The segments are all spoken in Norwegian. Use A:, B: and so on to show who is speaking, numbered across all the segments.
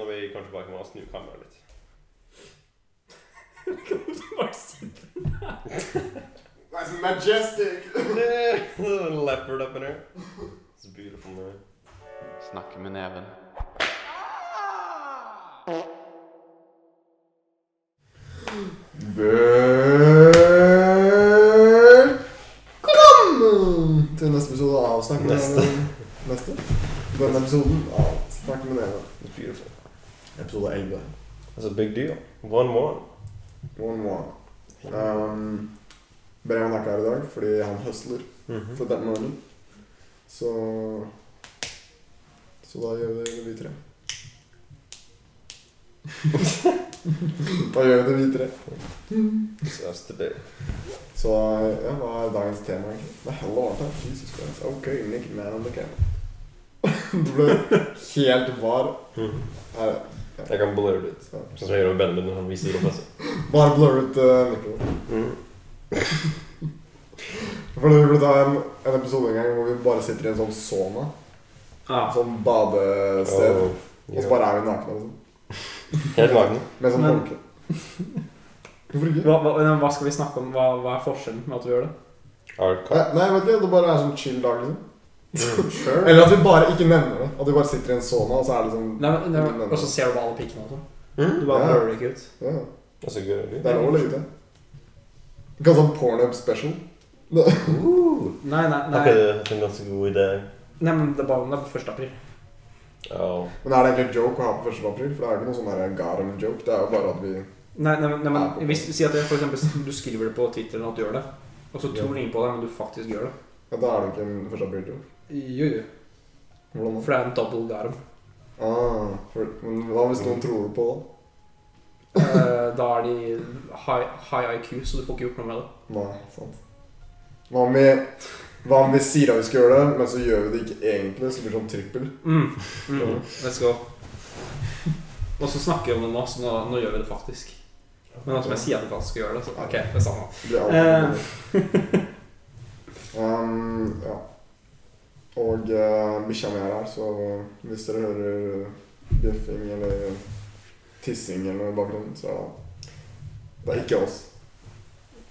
A: tilbake med å snu kameraet litt.
B: Bare sitte
C: That's majestic!
A: Leopard up in here. It's a beautiful man.
D: Snakke med neven.
C: Velkommen til neste episode av Snakk med
A: Neste.
C: neven. Neste. Denne episoden av Snakk med neven.
A: It's beautiful.
C: Episode 11.
A: That's a big deal. One more.
C: One more. Um, Bremen er ikke her i dag fordi han høsler
A: Mm-hmm.
C: for den morgenen. Så Så da gjør vi det, vi tre. da gjør vi det, vi tre.
A: So that's today.
C: Så ja, hva er dagens tema, egentlig? Det er hell og varmt her. Jesus Christ. Ok, Nick Man on the camera. du ble helt var.
A: Mm-hmm.
C: Her,
A: Jeg kan blurre det ut.
C: så.
A: Sånn som jeg gjør med Benjamin når han viser altså. rommet sitt.
C: Bare blurret ut uh, mikrofonen.
A: Mm-hmm.
C: For det burde ta en, en episode en gang hvor vi bare sitter i en sånn sauna.
B: Ja.
C: Sånn badested.
A: Og-
C: Og så bare er vi nakne. Liksom.
A: Oh, Helt naken.
C: Med sånn
B: Men-
C: håndkle. Hvorfor ikke?
B: Hva, hva, men hva skal vi snakke om? Hva, hva er forskjellen med at vi gjør det?
A: Har du
C: Nei,
A: kalt?
C: nei, vet ikke. Det bare er sånn chill dag, liksom.
A: Sure.
C: Eller at vi bare ikke nevner det. At vi bare sitter i en sauna, og så er det sånn
B: Nei, men, nei, men- og så ser du bare alle pikkene og sånn. Du
A: Mm?
B: bare
C: Ja.
B: hører det ikke ut.
C: ja.
A: That's a good idea.
C: Det er lov å legge til. Ikke sånn pornhub special.
A: Ooh.
B: Uh. Nei, nei,
A: Har ikke
B: nei.
A: du hatt en ganske god idé?
B: nei men det er bare det er på 1. april.
A: Ja.
C: Men er det egentlig en joke å ha på 1. april? For det er jo ikke noe sånn her garum-joke. Det er jo bare at vi
B: Nei, nei, men- nei,
C: Ja, ok.
B: men hvis Si at det, for eksempel, du skriver det på Twitter eller at du gjør det, og så tror ingen på deg, men du faktisk gjør det.
C: Ja, da er det ikke en 1. april-joke.
B: Jo, jo.
C: Hvordan da?
B: For det er en double garum.
C: Ah, for, men hva hvis noen tror på det?
B: Eh, da er de high, high IQ, så du får ikke gjort noe med det.
C: Nei, sant. Hva om vi Hva om vi sier at vi skal gjøre det, men så gjør vi det ikke egentlig? Så blir det sånn trippel.
B: Mm. Mm. Let's go. Og så snakker vi om det nå, så nå, nå gjør vi det faktisk. Men nå som jeg sier at vi faktisk skal gjøre det, så OK, det er samme.
C: Det blir alltid um, Ja. Og eh, bikkja mi er her, så hvis dere hører bjeffing eller tissing eller noe i bakgrunnen, så er det Det er ikke oss.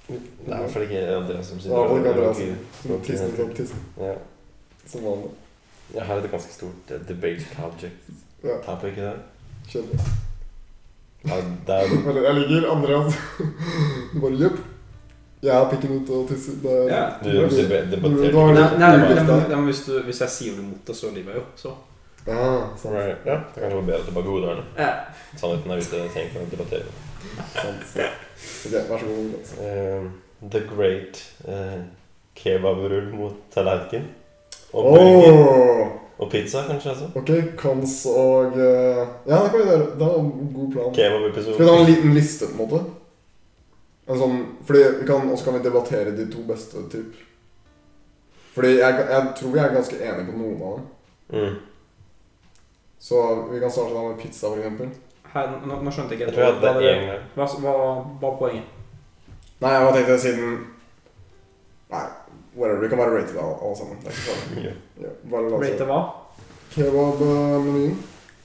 A: Det er iallfall ikke Andreas som sitter
C: Ja, det er ikke Andreas.
A: rocker-
C: Som tisser som tisser,
A: Ja.
C: som vanlig.
A: Jeg har et ganske stort eh, debate project.
C: Ja.
A: Topic i dag.
C: Kjønner.
A: Ja, det er jo
C: Eller jeg ligger Andreas Bare jepp. Jeg har pikken ut og tisser. Det er
B: Ja.
A: Du du deb- debatterer
C: Nei,
B: Nei,
A: ikke.
B: nei, nei,
C: det er
B: men-
C: bra.
B: nei, men hvis, du, hvis jeg sier noe mot det, så lyver jeg jo. Så.
C: Ja, sant,
A: Right. Ja, det er kanskje var bedre at det bare hodet her.
B: Eh,
A: Sannheten er ute. Tenk å debattere.
C: sant, sant. Ok, vær så god. Andreas.
A: Eh, the Great eh, kebabrull mot tallerken. Og burger.
C: Åh!
A: Og pizza, kanskje. altså.
C: Ok, Kans og eh, Ja, det kan vi gjøre. Det er en god plan. Skal vi
A: Kebabepisode.
C: ta en liten liste, på en måte? En sånn, fordi vi kan, Og så kan vi debattere de to beste, typ. Fordi jeg, jeg tror vi er ganske enige på noen av dem.
A: Mm.
C: Så vi kan starte da med pizza, for eksempel.
B: her, nå, nå skjønte jeg
A: Jeg
B: ikke
A: tror jeg hadde
B: hva,
A: én
B: det-
A: gang.
B: hva, hva, hva er poenget?
C: Nei, jeg bare tenkte siden Nei, whatever. Vi kan bare rate det, alle alle sammen. Det er ikke farlig.
A: Ja.
C: Ja, bare la oss
B: Rate hva?
C: Kebabmenyen.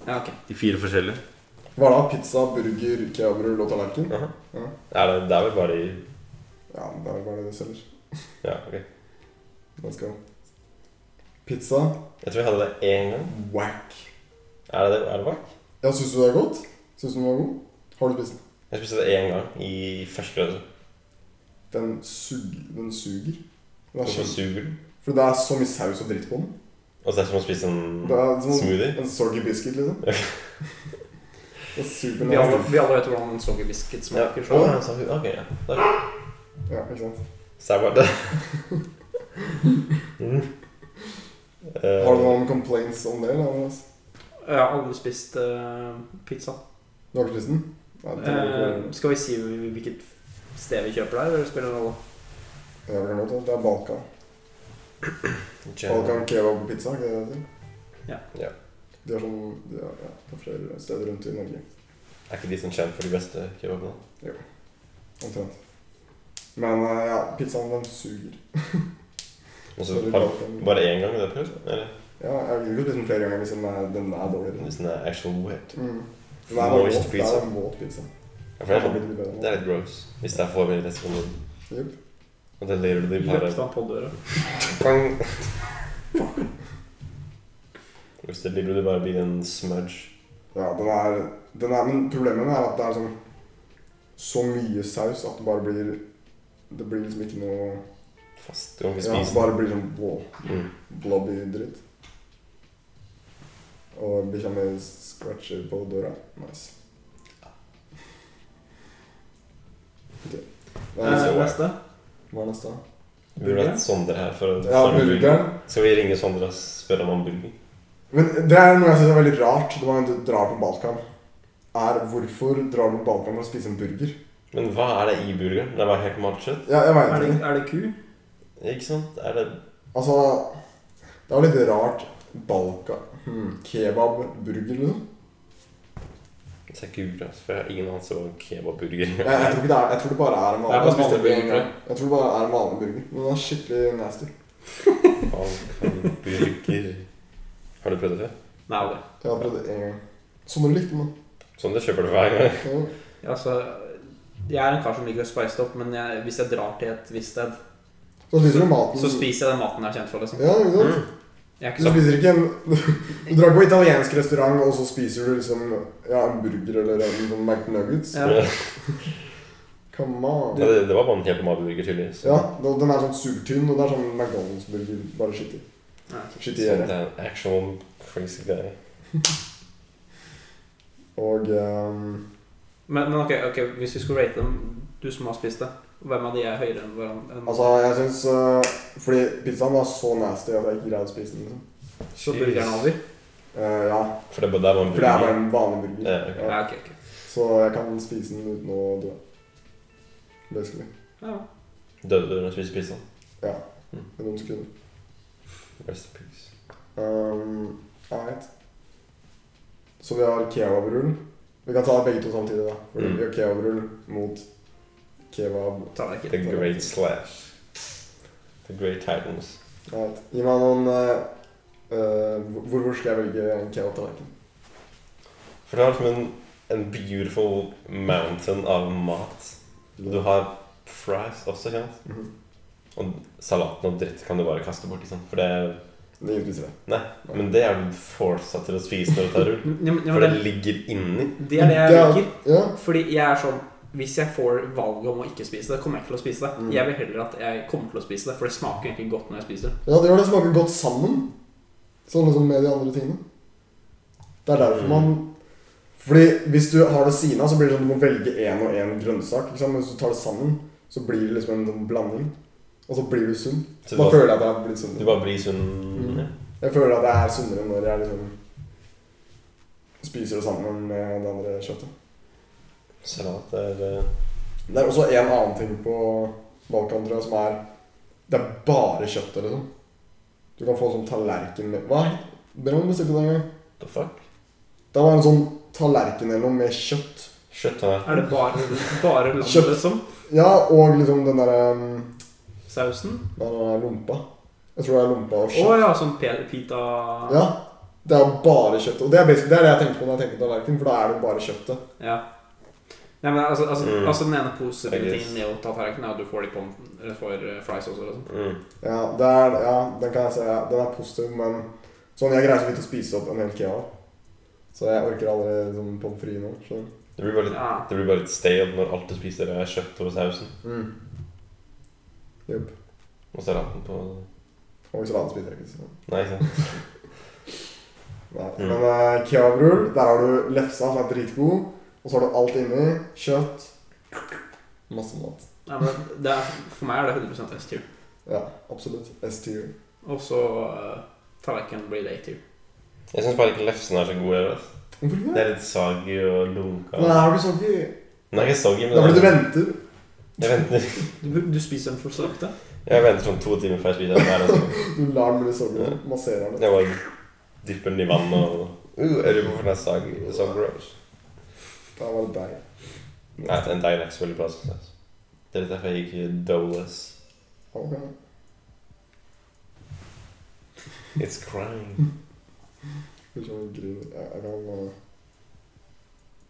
B: Ja, ok.
A: De fire forskjellige?
C: Hva da? Pizza, burger, kebabrull og tallerken?
A: Aha.
C: Ja.
A: Er det, det er vel bare i
C: Ja, det er bare det du selger.
A: Ja, ok.
C: Let's go. Pizza.
A: Jeg tror jeg hadde det én gang.
C: Whack.
A: Er det det? Er det bak?
C: Ja, syns du det er godt? Syns du den var god? Har du spist den?
A: Jeg spiste det én gang i første klasse.
C: Den, sug, den suger. Den er
A: Og så
C: kjempe...
A: suger den.
C: For det er så mye saus og dritt på den.
A: Og så er det som å spise en
C: Det er som
A: Mm. smoothie.
C: en soggy biscuit, liksom. det er super
B: Vi alle,
C: nice.
B: vi alle vet hvordan en soggy
A: Ja.
B: biscuit smaker.
A: Å,
B: Så.
A: ja, så- ok, ja. Da-
C: Ja, ikke sant.
A: Så det er bare det. mm. Eh,
C: Har du noen complaints om det? eller? Andreas?
B: Jeg har aldri spist eh, pizza.
C: Du har ikke spist den? Nei, det er
B: Eh, skal vi si hvilket sted vi kjøper der, eller spiller det noen rolle? Eh,
C: det er godt, det er Balkan.
A: general-
C: Balkan kebab og pizza, ikke det det heter?
B: Ja.
A: Ja.
C: De har sånn de har, ja, på flere steder rundt i Norge.
A: Er ikke de som kjent for de beste kebabene?
C: Omtrent. Men eh, ja, pizzaen, den suger.
A: Og så
C: Så det
A: har
C: blir Balkan.
A: bare én gang det er prøvd? Eller
C: Ja, jeg vil ikke spise den flere ganger hvis den liksom, er, den er dårlig.
A: hvis den er actual wet?
C: Mm. Den er våt.
A: Moist
C: Det
A: pizza.
C: er en våt pizza.
A: Ja, for det, er,
C: litt bedre.
A: litt- det er litt gross. Hvis det er for mye responsen.
C: Jep.
A: Og det ler du i
B: Løpte
A: paret.
B: han på døra.
A: Pang! Hvis det ligger du bare blir en smudge.
C: Ja, den er, den er Men problemet er at det er sånn så mye saus at det bare blir Det blir liksom ikke noe
A: Fast. Du kan ikke
C: Ja, det
A: spise
C: bare blir sånn blå,
A: den. Mm.
C: blobby dritt. Og bikkja mi scratcher på døra. Nice. Ok. Hva er
B: Eh,
C: neste?
B: neste.
C: Hva er neste?
A: Vi burde hatt Sondre her for å
C: Ja,
A: for å-
C: burgeren.
A: Skal vi ringe Sondre og spørre om han burger?
C: Men det er noe jeg syns er veldig rart når man drar på Balkan. Er hvorfor drar du på Balkan for å spise en burger?
A: Men hva er det i burgeren? Det er bare helt matchet.
C: Ja, jeg
B: Er
C: vet
B: det,
C: ikke.
B: er det ku?
A: Ikke sant? Er det
C: Altså, det er jo litt rart. Balkan hmm. Kebab, burger, liksom.
A: Det er ikke ugress, for jeg har ingen anelse om hva kebabburger
C: Jeg, jeg, tror ikke det er, jeg tror det bare er en
B: Det er
C: vanlig
B: bare
C: jeg spiste
B: vanlig
C: en
B: burger,
C: gang. Jeg tror det bare er en vanlig burger. Men den er skikkelig nasty.
A: Balkanburger Har du prøvd det før?
B: Nei, aldri.
C: Jeg har prøvd det en gang. Sånn Som du likte, men.
A: Sondre kjøper Sånn, det hver gang.
C: Ja.
B: Ja, altså, jeg er en kar som liker å spice det opp, men jeg, hvis jeg drar til et visst sted,
C: Så spiser du maten.
B: så spiser jeg den maten jeg er kjent for. liksom.
C: Ja, ikke sant?
A: Mm.
B: Jeg er ikke
C: Du
B: så...
C: spiser ikke en Du drar på italiensk restaurant, og så spiser du liksom ja, en burger eller en sånn McNuggets.
B: Ja.
A: Ja.
C: Come on.
A: Det, det var bare en kebabburger, tydeligvis.
C: Ja, da- den er sånn supertynn, og det er sånn McDonald's-burger, bare skittig.
B: Ja.
C: Skittig
A: Så
C: gjerde.
A: Sånn, det er en actual crazy guy.
C: Og ehm,
B: Men, men ok, ok, hvis vi skulle rate dem, du som har spist det, hvem av de er høyere enn hverandre? enn-
C: altså, jeg syns Fordi pizzaen var så nasty at jeg ikke greide å spise den. liksom.
B: Så burgeren
A: Jeez.
B: over?
C: Eh, ja,
A: For det, der var en
C: for det er bare
A: burger.
C: en vanlig burger.
A: Ja, ok.
B: Ja, ok, ok.
C: Så jeg kan spise den uten å dø. Basically.
B: Ja.
A: Døde du når du spiste pizzaen?
C: I noen sekunder.
A: Rest in peace.
C: Um, jeg vet. Så vi har kebabrull. Vi kan ta begge to samtidig, da. Fordi
A: Mm.
C: Vi har kebabrull mot kebab.
B: Ta deg ikke.
A: The Great Slash. The Great Titans.
C: Jeg vet. Gi meg noen eh, eh, hvor, hvor skal jeg velge en kebabtallerken?
A: For det var liksom en, en beautiful mountain av mat. Du har fries også, ikke sant?
C: Mhm.
A: Og salaten og dritt kan du bare kaste bort, ikke sant? For det er,
C: Ingen spiser det.
A: men det er du fortsatt til å spise når du tar rull.
B: Ja, men- ja,
A: For
B: men
A: det ligger inni.
B: det, det er det jeg
C: Det er-
B: liker.
C: Ja.
B: Fordi jeg er sånn Hvis jeg får valget om å ikke spise det, kommer jeg ikke til å spise det.
C: Mm.
B: Jeg vil heller at jeg kommer til å spise det, for det smaker egentlig godt når jeg spiser det.
C: ja, det gjør det smaker godt sammen. Sånn liksom med de andre tingene. Det er derfor
A: Mm.
C: man Fordi hvis du har det siden av, så blir det sånn at du må velge én og én grønnsak. Ikke sant? Men hvis du tar det sammen, så blir det liksom en sånn blanding. Og så blir du sunn.
A: Så
C: Da
A: du bare,
C: føler jeg at jeg har blitt
A: du
C: sunnere.
A: bare blir sånn- sunn.
C: Mm.
A: Ja.
C: Jeg føler at jeg er sunnere når jeg liksom spiser det sammen med det andre kjøttet.
A: Salat er eh,
C: Det er også en annen ting på Balkan, tror jeg, som er Det er bare kjøttet, liksom. Du kan få sånn tallerken med Hva? Brenn bestilte det en gang.
A: The fuck?
C: Det var en sånn tallerken eller noe med kjøtt.
A: Kjøtttallerken.
B: Er det bare, bare
C: Kjøtt.
B: landet som
C: Ja, og liksom den derre um,
B: sausen?
C: Den der lompa. Jeg tror det er lompa og
B: Å
C: kjøtt.
B: ja, sånn pe- pita
C: Ja. Det er bare kjøttet. Og det er, basically- det er det jeg tenker på når jeg tenker på tallerken, for da er det bare kjøttet.
B: Ja. Nei, men altså, altså,
A: Mm.
B: altså den ene positive
A: I guess.
B: tingen i å ta tallerkenen er at du får de på eller får eh, fries også. Liksom.
A: Mm.
C: Ja, det er, ja, den kan jeg si. Ja, den er positiv, men sånn jeg greier så vidt å spise opp en hel kebab. Så jeg orker aldri liksom, pommes frites nå. skjønner du?
A: Det blir bare litt,
B: Ja.
A: det blir bare litt stale når alt du spiser, er kjøtt og sausen.
C: Mm. Jupp.
A: Og salaten på
C: Og salaten spiser jeg ikke. Så.
A: Nei, ikke sant?
C: Nei.
A: Mm.
C: Men uh, kebabrull, der har du lefsa som er dritgod. Og så har du alt inni. Kjøtt. Masse mat.
B: Nei, men det er, for meg er det 100 S-tier.
C: Ja, absolutt. S-tier.
B: Og så eh, tallerkenen blir det A-tier.
A: Jeg syns bare ikke lefsen er så god. heller, ass.
C: Hvorfor ikke
A: Det
C: det?
A: er litt sagi og lunka.
C: Nei, har du sånn ikke
A: Den er ikke soggy,
C: Det er
A: men
C: fordi du
A: den er-
C: venter.
A: jeg venter,
B: Du, du spiser den for sakte.
A: jeg venter sånn to timer før jeg spiser den. der, altså.
C: Du lar den bli sårbar. Masserer den.
A: Jeg bare dypper den i vann og uh, Er du på den sag? So gross.
C: Da var det deg.
A: Nei, den dagen er ikke så veldig bra. Sånn. sett. Det er derfor jeg gikk doughless.
C: Ok.
A: It's crying.
C: Skal vi se om vi griner. Jeg, jeg kan eh,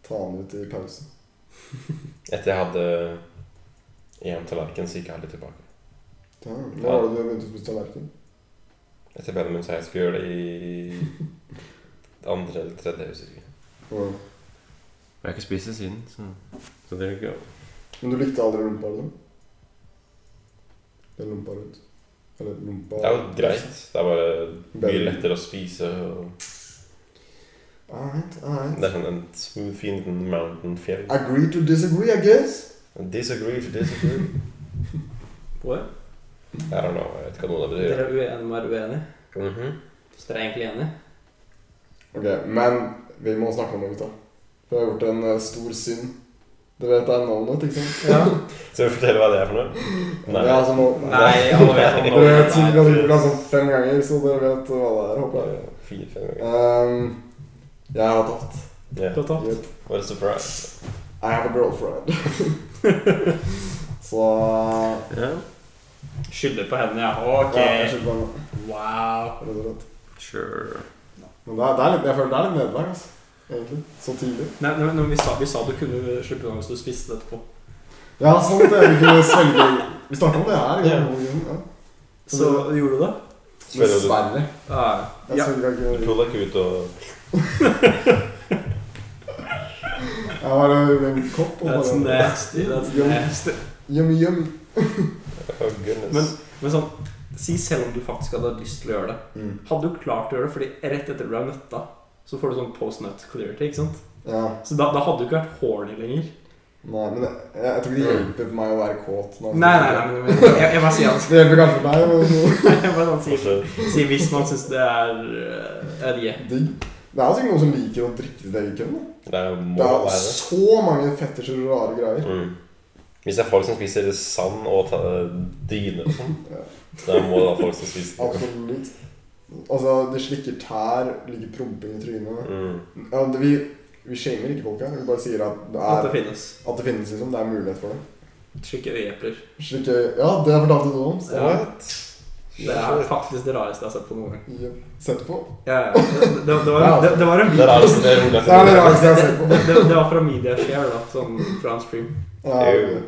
C: ta den ut i pausen.
A: Etter jeg hadde én tallerken, så gikk jeg aldri tilbake.
C: Da, Når var det du begynte å spise tallerken?
A: Etter Benjamin sa jeg skulle gjøre det i det andre eller tredje, jeg husker ikke.
C: Ja.
A: Og jeg har ikke spist det siden, så, så det er ikke
C: Men du likte aldri lompa, liksom? Den lompa rundt? Eller lompa
A: Det er jo greit. Det er bare mye lettere å spise. Og
C: Alright, alright.
A: det er sånn en smooth, fin liten mountain fjell.
C: Agree to disagree, I guess.
A: Disagree to disagree.
B: På det.
A: I don't know. Jeg vet ikke hva noe det betyr.
B: Dere er uenige om å være uenige.
A: Mhm.
B: Så dere er egentlig enige.
C: Ok, men vi må snakke om det, gutta. Vi har gjort en eh, stor synd. Du vet det er navnet, ikke sant?
B: Ja.
A: Så jeg fortelle hva det er for noe? Nei.
C: Det er altså no
B: Nei, alle vet om
C: Dere vet sikkert at vi
B: navnet.
C: gjorde det sånn fem ganger, så dere vet hva det er, håper jeg.
A: Fire-fem ganger.
C: Ehm, jeg har tapt.
A: Yeah.
B: Total.
C: Yep.
A: What a surprise.
C: I have a girlfriend. så
A: Yeah,
B: Skylder på henne, ja.
C: ja, jeg
B: Ok.
C: skylder på henne,
B: Wow.
C: rett og slett.
A: sure.
C: Men det er, det er litt, jeg føler det er litt nederlag, altså. Egentlig. Så tidlig.
B: Nei, nei, men vi, sa, vi sa du kunne slippe unna hvis du spiste det etterpå.
C: Ja, sånn at jeg ikke svelger Vi snakket om det her.
A: Ja.
C: Ja. Ja.
B: Så gjorde du det?
A: Dessverre.
C: Dessverre. Jeg
B: Ja.
C: svelget
A: Du
C: ikke
A: puller ikke ut og
C: Jeg har eh, en kopp og
B: That's
C: bare
B: nasty. That's
C: Ja.
B: nasty.
C: Yummy, yummy.
A: Oh goodness.
B: Men, men sånn, si selv om du faktisk hadde hatt lyst til å gjøre det.
C: Mm.
B: Hadde du klart å gjøre det, fordi rett etter du ble nøtta, så får du sånn post nut clarity, ikke sant?
C: Ja.
B: Så da, da hadde du ikke vært horny lenger.
C: Nei, men jeg, jeg tror ikke
A: Mm.
C: det hjelper for meg å være kåt.
B: Nei, nei, nei, men, men jeg, jeg bare sier altså,
C: Det hjelper kanskje for deg, men
B: jeg bare sånn, sier,
A: Kanskje-
B: sier hvis man syns det er eh, Jeg vet ikke.
C: digg. Det er sikkert noen som liker å drikke sitt eget kjønn. da.
A: Det er- må
C: Det er
A: være det.
C: så mange fetisjer og rare greier.
A: Mm. Hvis det er folk som spiser sand og ta- dyner og sånn,
C: Ja.
A: da må det være folk som spiser
C: Absolutt. Altså, de slikker tær, ligger promping i trynet.
A: Mm.
C: Ja, det, vi, vi shamer ikke folk her. Vi bare sier at det,
B: At
C: er,
B: det finnes.
C: at det finnes, liksom. Det er mulighet for det.
B: Slikke øyeepler.
C: Slik, eh, ja, det har jeg fortalt deg om. Så,
B: Ja. Det er faktisk det rareste jeg har sett på noen gang.
C: ja. Sett på.
B: Ja, ja. Det, det, det, var, det, det var en
A: Det er
B: video.
A: altså det er
C: Det er det
A: rolig.
C: rareste
B: Det,
C: jeg har sett på.
B: det, det var fra Mediashare, da. Sånn fra en stream.
C: Ja,
A: Jo.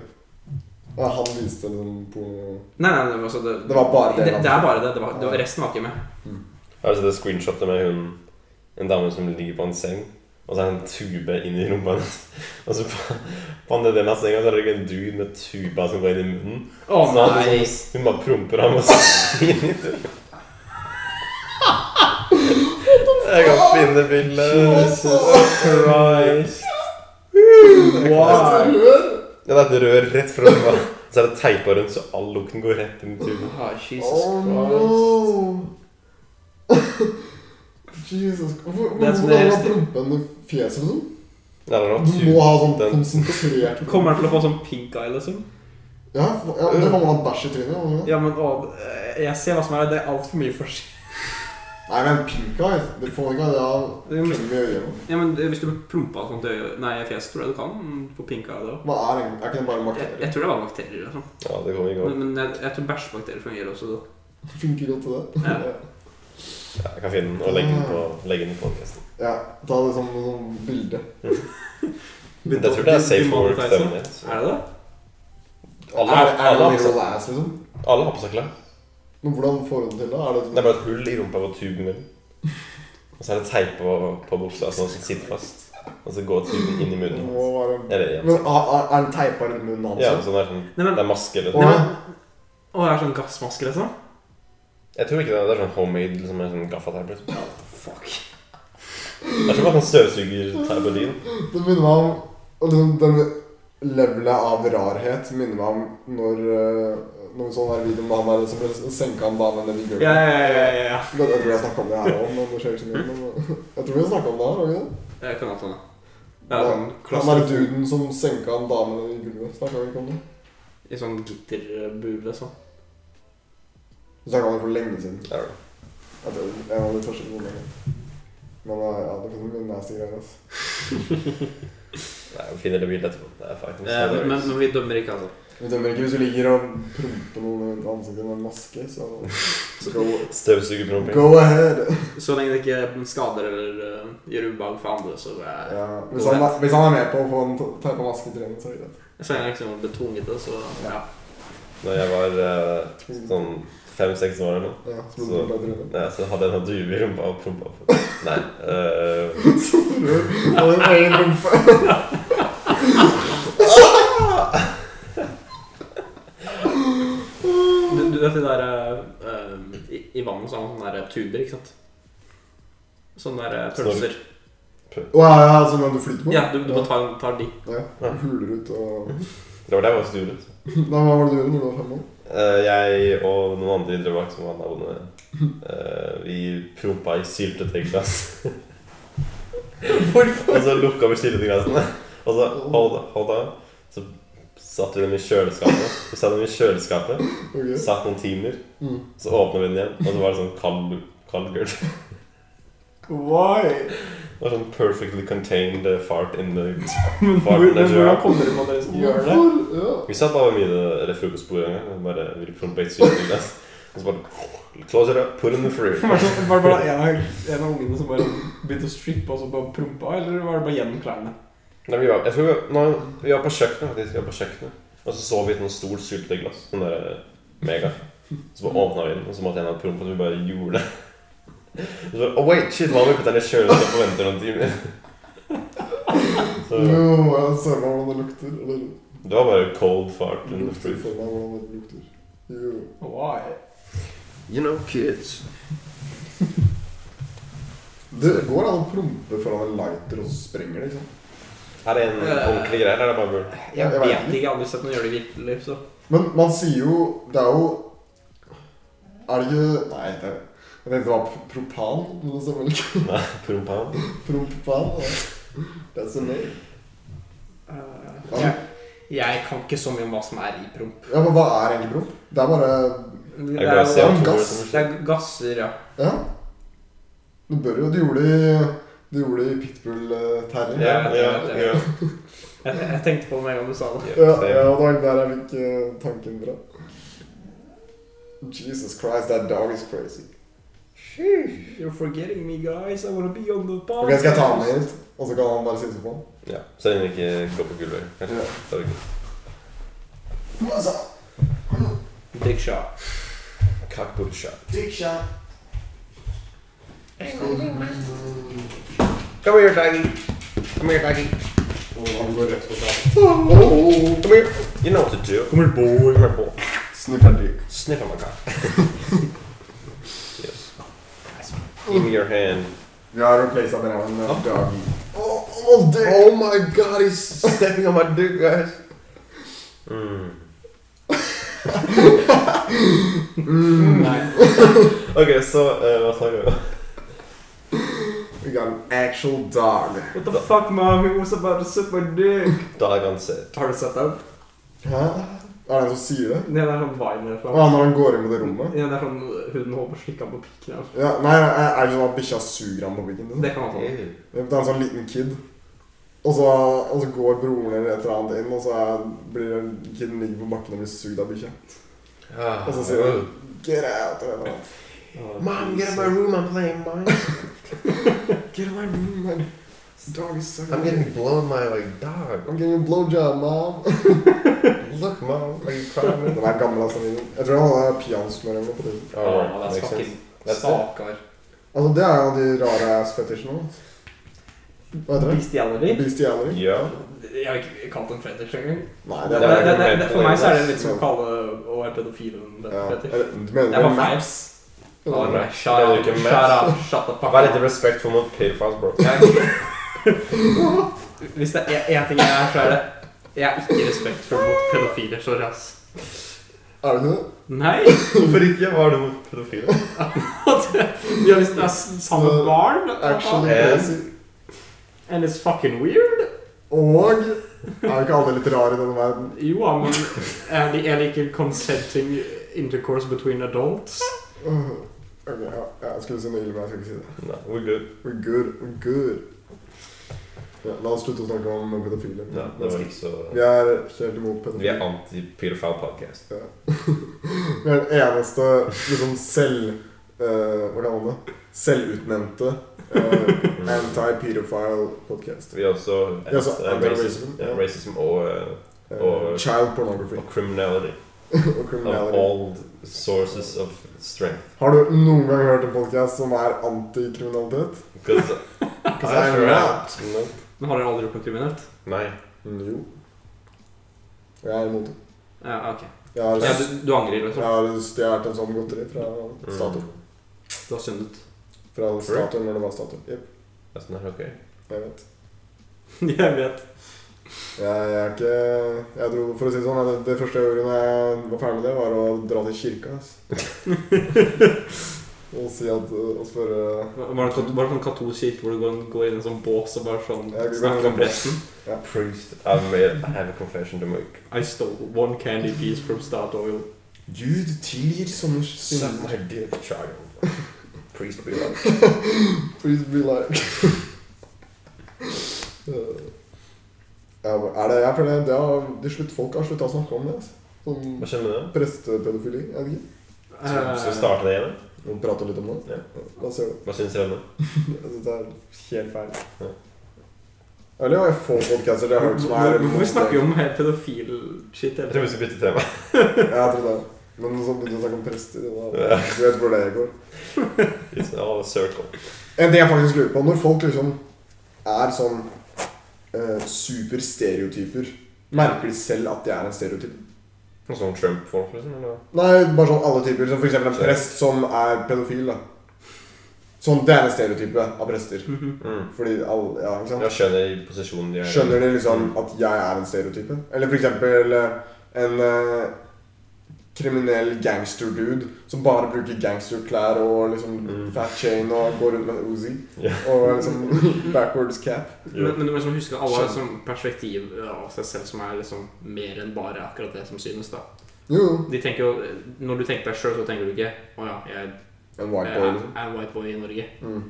C: ja, han viste liksom på
B: Nei, nei, det var, så det,
C: Det var bare det,
B: Det,
C: da.
B: det er bare det. det, var, det var, resten var ikke med.
A: Har du sett det screenshotet med hun En dame som ligger på en seng, og så er det en tube inn i rumpa hennes. Og så på, på andre delen av senga så er det en dude med tuba som går inn i munnen.
B: Å
A: så han, liksom- hun bare promper ham og svir ut. Jeg kan finne bildet.
B: Christ. Wow.
A: Ja, det er et rør rett fra rumpa. Så er det teipa rundt, så all lukten går rett inn i tuben.
B: Ah, Jesus
C: Oh
B: Christ.
C: no! Jesus Christ. Hvor-
B: Det er
C: Hvorfor
B: som
C: har
B: det
C: du
B: er-
C: prompen i fjeset? Liksom?
A: Nei, det er noe
C: Du må ha sånn
A: den-
C: konsentrert
B: Kommer han til å få sånn pink eye, liksom?
C: Ja, for- ja det kan man ha bæsj i trynet. må man ikke det?
B: Ja, men å, jeg ser hva som er Det er altfor mye forskjell.
C: Nei, men pink eye Det får man ikke ha. Det har
B: Det er jo-
C: klem i øyet.
B: Ja, men Hvis du blir prompa sånn til øyet Nei, i fjeset, tror jeg du kan få pink eye da.
C: Hva er egentlig Er ikke det bare
B: Jeg,
C: bakterier?
B: jeg tror det var bakterier. og sånn.
A: Ja, det kommer ikke opp.
B: Men, men jeg, jeg tror bæsjbakterier fungerer også. da.
C: Funker godt til det.
B: Ja.
A: Ja, jeg kan finne den og legge den på, legge den i podcasten.
C: Ja, ta det som som bilde.
A: Men Jeg tror det er safe for work
B: Demonetizer.
A: thumbnail.
B: Er det det?
A: Alle,
C: er, er
A: alle,
C: det
A: har på
C: little
A: seg-
C: ass, liksom?
A: alle har på seg klær.
C: Men hvordan får du det til? da? Er
A: Det er
C: det
A: bare et hull i rumpa på tuben min. Og så er det teip på, på buksa sånn som sitter fast. Og så går tuben inn i
C: Det
A: munnen.
C: må være
A: Eller
C: Men
A: igjen.
C: er, er- er den teipa rundt munnen hans? liksom?
A: Ja,
C: da?
A: sånn er sånn,
B: Nei, men,
A: det er maske eller sånn.
C: Åh.
B: nei, men, å, det er sånn gassmaske, liksom?
A: Jeg tror ikke det er, det er sånn homemade liksom, med sånn gaffateip. Liksom.
B: Fuck.
A: Det er som bare sånn støvsugerteip på dyn.
C: Det minner meg om og liksom, Den levelet av rarhet minner meg om når eh, Når vi så den der videoen med han der som ble senka en dame ned i gulvet.
B: Ja, ja, ja, ja, ja.
C: Jeg vet- jeg tror jeg snakket om det her òg, men det skjer ikke så mye. Men, jeg tror vi har snakket om det her. har vi ikke det?
B: Jeg kan ha sånn, ja. Ja, sånn
C: Han der
B: klassisk
C: duden som senka en dame ned i gulvet. Snakka vi ikke om det?
B: I sånn gitterbur, liksom.
C: Vi snakket om det for lenge siden.
A: Ja, da.
C: Jeg tror, en av de første episodene. Men eh, ja, det finnes mye nasty greier. Altså.
A: Nei, jeg finner det bildet etterpå. Det er faktisk
B: Eh, men,
A: hilarious.
B: men vi dømmer ikke, altså.
C: Vi dømmer ikke hvis du ligger og promper noen i ansiktet med en maske, så go,
A: Støvsugerpromping.
C: go ahead.
B: Så lenge det ikke skader eller eh, gjør ubehag for andre, så er
C: Ja, hvis, han, er- hvis han er med på å få en ta- ta på masken til en, så er det greit.
B: Så lenge jeg liksom blir tvunget til det, så ja.
A: Når jeg var eh, sånn fem-seks år eller noe,
C: Ja, så
A: Så-
C: blir det bedre.
A: ja, så hadde jeg en due i rumpa og prompa på. Nei. eh,
C: Og en egen rumpe.
B: Du, du vet de der eh, eh, i, I vannet så har man sånne der tuber, ikke sant? Sånne der eh, pølser.
C: Å ja, ja, sånn at du flyter på?
B: Ja, du, du bare tar, tar de.
C: Ja.
A: Ja.
C: Huler ut og
A: det var det jeg var sturet.
C: Nei, Hva var det du gjorde når du var fem år?
A: Eh, jeg og noen andre i Drøbak som var naboene, eh, vi prompa i syltetøyglass. Hvorfor? Og så lukka vi syltetøyglassene. Og så hold, hold on, så satte vi dem i kjøleskapet. Vi satte dem i kjøleskapet,
C: Ok.
A: satt noen timer,
C: Mm.
A: så åpna vi den igjen, og så var det sånn kald, kald gulv.
C: Why?
A: Det var sånn perfectly contained eh, fart in the
B: Men
A: hvor- men hvordan
B: kom dere på at dere
C: Hvorfor? Ja.
A: Vi satt bare ved middag eller frokostbordet en gang og bare ville prompe i et syltetøyglass. Og så bare Close it up, put in the fruit.
B: Var det bare, bare en, av, en av ungene som bare begynte å strippe og så bare prompa, eller var det bare gjennom klærne?
A: Nei, vi var, jeg tror vi var, nei, vi var på kjøkkenet, faktisk. Vi var på kjøkkenet. Og så så vi et noe stort sylteglass. Sånn der eh, mega. Så bare åpna vi den, og så måtte jeg ha promp, og så vi bare gjorde det. Og så bare, oh wait, shit, hva om vi putter den i kjøleskapet og venter noen timer? Så
C: Jo, jeg ser meg hvordan det lukter. Eller
A: det var bare cold fart in the
C: lukter
A: fruit.
C: for meg hvordan det lukter. Jo.
B: Why?
A: You know, kids.
C: Det går an å prompe foran en lighter, og så sprenger det, ikke sant?
A: Er det en ordentlig greie, eller er det bare bull?
B: Jeg,
C: Jeg
B: vet
C: vet
B: ikke. Jeg har aldri sett noen gjøre det i virkelig, så
C: Men man sier jo Det er jo Er det ikke Nei, det, jeg tenkte det var p- propan, men det stemmer vel ikke.
A: Nei, prompan.
C: Prompan. ja. Det er så nøy.
B: Eh, jeg, jeg kan ikke så mye om hva som er i promp.
C: Ja, men hva er egentlig promp? Det er bare
B: Det
A: Jeg
B: er,
A: bare
B: jo-
A: ser
C: en
A: at to
C: gass.
A: som
B: det er gasser, ja.
C: Ja. Du bør jo Du gjorde det i Du gjorde det i eh, pitbull-terren.
A: Ja, ja, ja.
B: Jeg, jeg tenkte på det med en gang du sa det.
C: Ja, ja,
A: same.
C: og det var der jeg fikk eh, tanken fra. Jesus Christ, that dog is crazy.
B: You're forgetting me, guys. I wanna be on the podcast.
C: Ok, Skal jeg ta han med hit, og så kan han bare sitte på han?
A: Ja, så den ikke går på gulvet. kanskje.
C: Ja.
A: Det var ikke-
C: Altså,
B: Dick shot.
A: Cockbull shot.
C: dick shot.
A: Come here, doggy. Come here, doggy.
C: Og han går rett på seg. Oh,
A: Come here. You know what to do. Come here, boy. Come here, boy.
C: Sniffer dick.
A: Sniff on my cock. yes. Give me your hand.
C: Vi har replaced Adrian med
A: Ja.
C: doggy. Oh, oh, dick. oh my god, he's stepping on my dick, guys. Hmm.
A: Mm.
B: Nei.
A: Hmm. Okay, so uh, hva snakker vi om?
C: We got an actual dog.
B: What the fuck, mom? He was about to suck my dick.
A: Dag ansett.
B: Har du sett den?
C: Hæ? Er det han som sier det?
B: Det er sånn vine
C: Å,
B: fra
C: når han går inn mot det rommet?
B: Ja, det er sånn hun håper slikka på pikken. eller?
C: Ja, nei, er er det sånn at bikkja suger ham på pikken? din?
B: Det kan man ta.
A: Ew.
C: Det er en sånn liten kid. Og så, og så går broren eller et eller annet inn, og så er, blir den kiden ligger på bakken og blir sugd av bikkja.
A: Ah,
C: Og så sier hun 'get out' eller noe.
A: Mom, get out of my room, I'm playing mine.
C: Get out of my room, man. This Dog is so
A: I'm getting blown by my dog.
C: I'm getting a blowjob, mom.
A: Look, mom, are you crying?
C: Den er gammel, altså. videoen. Jeg tror han hadde peanøttsmør eller noe. på den.
B: Ja,
A: Alright,
B: det er
A: makes
B: fucking
A: sense. That's it.
B: stakar.
C: Altså, det er jo de rare ass-fetisjene hans. Hva heter det?
B: Bestiality?
C: Bestiality?
A: Yeah.
B: Jeg har ikke kalt den fetish engang.
C: Nei,
B: Det,
C: det
A: er
B: det,
A: bare
B: det,
C: er
B: det, for meg så er det litt sånn eh, som
C: ass.
B: å kalle å være pedofil en
C: ja.
B: fetish.
C: Eller, Du mener
B: Jeg var
C: med
B: feil.
C: maps?
B: Oh,
A: Nei,
B: nei,
A: det
B: shut
A: er jo
B: up,
A: ikke
B: shut up, shut the fuck
A: Vær litt
B: up.
A: respektfull mot pedophiles, bro.
B: Jeg- Hvis det er én ting jeg er, så er det Jeg er ikke respektfull mot pedofiler. Sorry, ass.
C: Er det ikke det?
B: Nei!
A: Hvorfor ikke? Hva har du mot pedofile?
B: De har visst det er s- samme
C: Uh,
B: barn.
C: Actually
A: Ja.
C: crazy.
B: And it's fucking weird.
C: Og er jo ikke alle litt rare i denne verden?
B: Jo, ja, men eh, er det er det ikke consenting intercourse between adults?
C: Åh, Ok, ja, ja, jeg skulle si noe ille, men jeg skal ikke si det.
A: Nei, we're good.
C: We're good, we're good. Ja, la oss slutte å snakke om pedofile.
A: Ja, det var ikke så
C: Vi er helt imot pedofile.
A: Vi er anti-pedofil-podcast.
C: Ja. Vi er den eneste liksom selv eh, Hvordan var det? Selvutnevnte eh, anti-pedophile podcast.
A: Mm. Vi er også
C: Ja, så
A: eh, racism,
C: anti-racism, ja.
A: ja, racism og, eh,
C: Eh,
A: Og-
C: child pornography
A: og criminality.
C: og
A: Of
C: criminality.
A: all sources of strength.
C: Har du noen gang hørt en podcast som er antikriminalitet?
A: Because
C: Because
A: I
C: I'm
A: sure
C: not.
A: am. No.
B: Men har dere aldri gjort noe kriminelt?
A: Nei.
C: Mm, jo. Jeg er imot det.
B: Ja, ok.
C: Jeg har,
B: Ja, du, du angrer,
C: jeg
B: liksom?
C: har stjålet en sånn godteri fra
A: Mm.
C: Statoil.
B: Du har syndet?
C: Fra
A: For real?
C: Statoil når det var Statoil. Jep,
A: That's not okay.
C: jeg vet.
B: jeg vet.
C: Jeg, jeg er ikke Jeg dro, for å si det sånn, det, det første jeg gjorde når jeg var ferdig med det, var å dra til kirka. ass. og si at Og spørre
B: Var det en kat- var det en katolsk kirke hvor du går, går inn i en sånn bås og bare sånn
C: Ja, du går
B: snakker
C: inn i en
B: om presten?
A: Priest, I've made, I have a confession to make.
B: I stole one candy piece from Statoil.
C: Gud tilgir sånne
A: Suck
C: synder.
A: my dick, child. Priest be like.
C: Please be like Eh, ja, men er det, Jeg føler det har, de slutt, folk har slutta å snakke om det. ass. Sånn
A: Hva skjer med det?
C: prestepedofili. Jeg vet ikke.
B: Eh,
A: Skal skal vi starte det igjen?
C: Vi prater litt om det.
A: Ja.
C: Da ser du.
A: Hva syns dere om det?
C: Jeg synes det er helt feil.
A: Ja.
C: Eller det var få podcaster jeg har hørt som er
B: Hvorfor snakker vi om helt pedofil shit
A: Jeg
B: hele
A: tror vi
B: tiden?
A: skal bytte tema.
C: Ja, jeg tror det. Men så begynte jeg å snakke om prester. og Da.
A: Ja.
C: Du vet hvor det går.
A: It's all a circle.
C: En ting jeg faktisk lurer på, når folk liksom er sånn eh, superstereotyper, merker de selv at de er en stereotyp?
A: Noe sånn Trump-folk, liksom? Eller?
C: Nei, bare sånn alle typer. Som for eksempel en prest som er pedofil, da. Sånn, det er en stereotype av prester.
B: Mhm.
A: Mm.
C: Fordi alle, ja, ikke sant?
A: Jeg Mm. skjønner posisjonen de er i.
C: Skjønner de liksom at jeg er en stereotype? Eller for eksempel eh, en eh, kriminell gangster-dude som bare bruker gangsterklær og liksom
A: Mm.
C: fat chain og går rundt med en Uzi
A: Ja.
C: og liksom backwards cap.
A: Mm.
B: Men, men du må liksom huske at alle har et
C: Skjønner.
B: sånn perspektiv av seg selv som er liksom mer enn bare akkurat det som synes. da
C: Jo, jo.
B: De tenker jo, Når du tenker deg sjøl, så tenker du ikke 'Å ja, jeg,
C: En
B: jeg,
C: white boy, liksom.
B: er en white boy i Norge'.
C: Mm.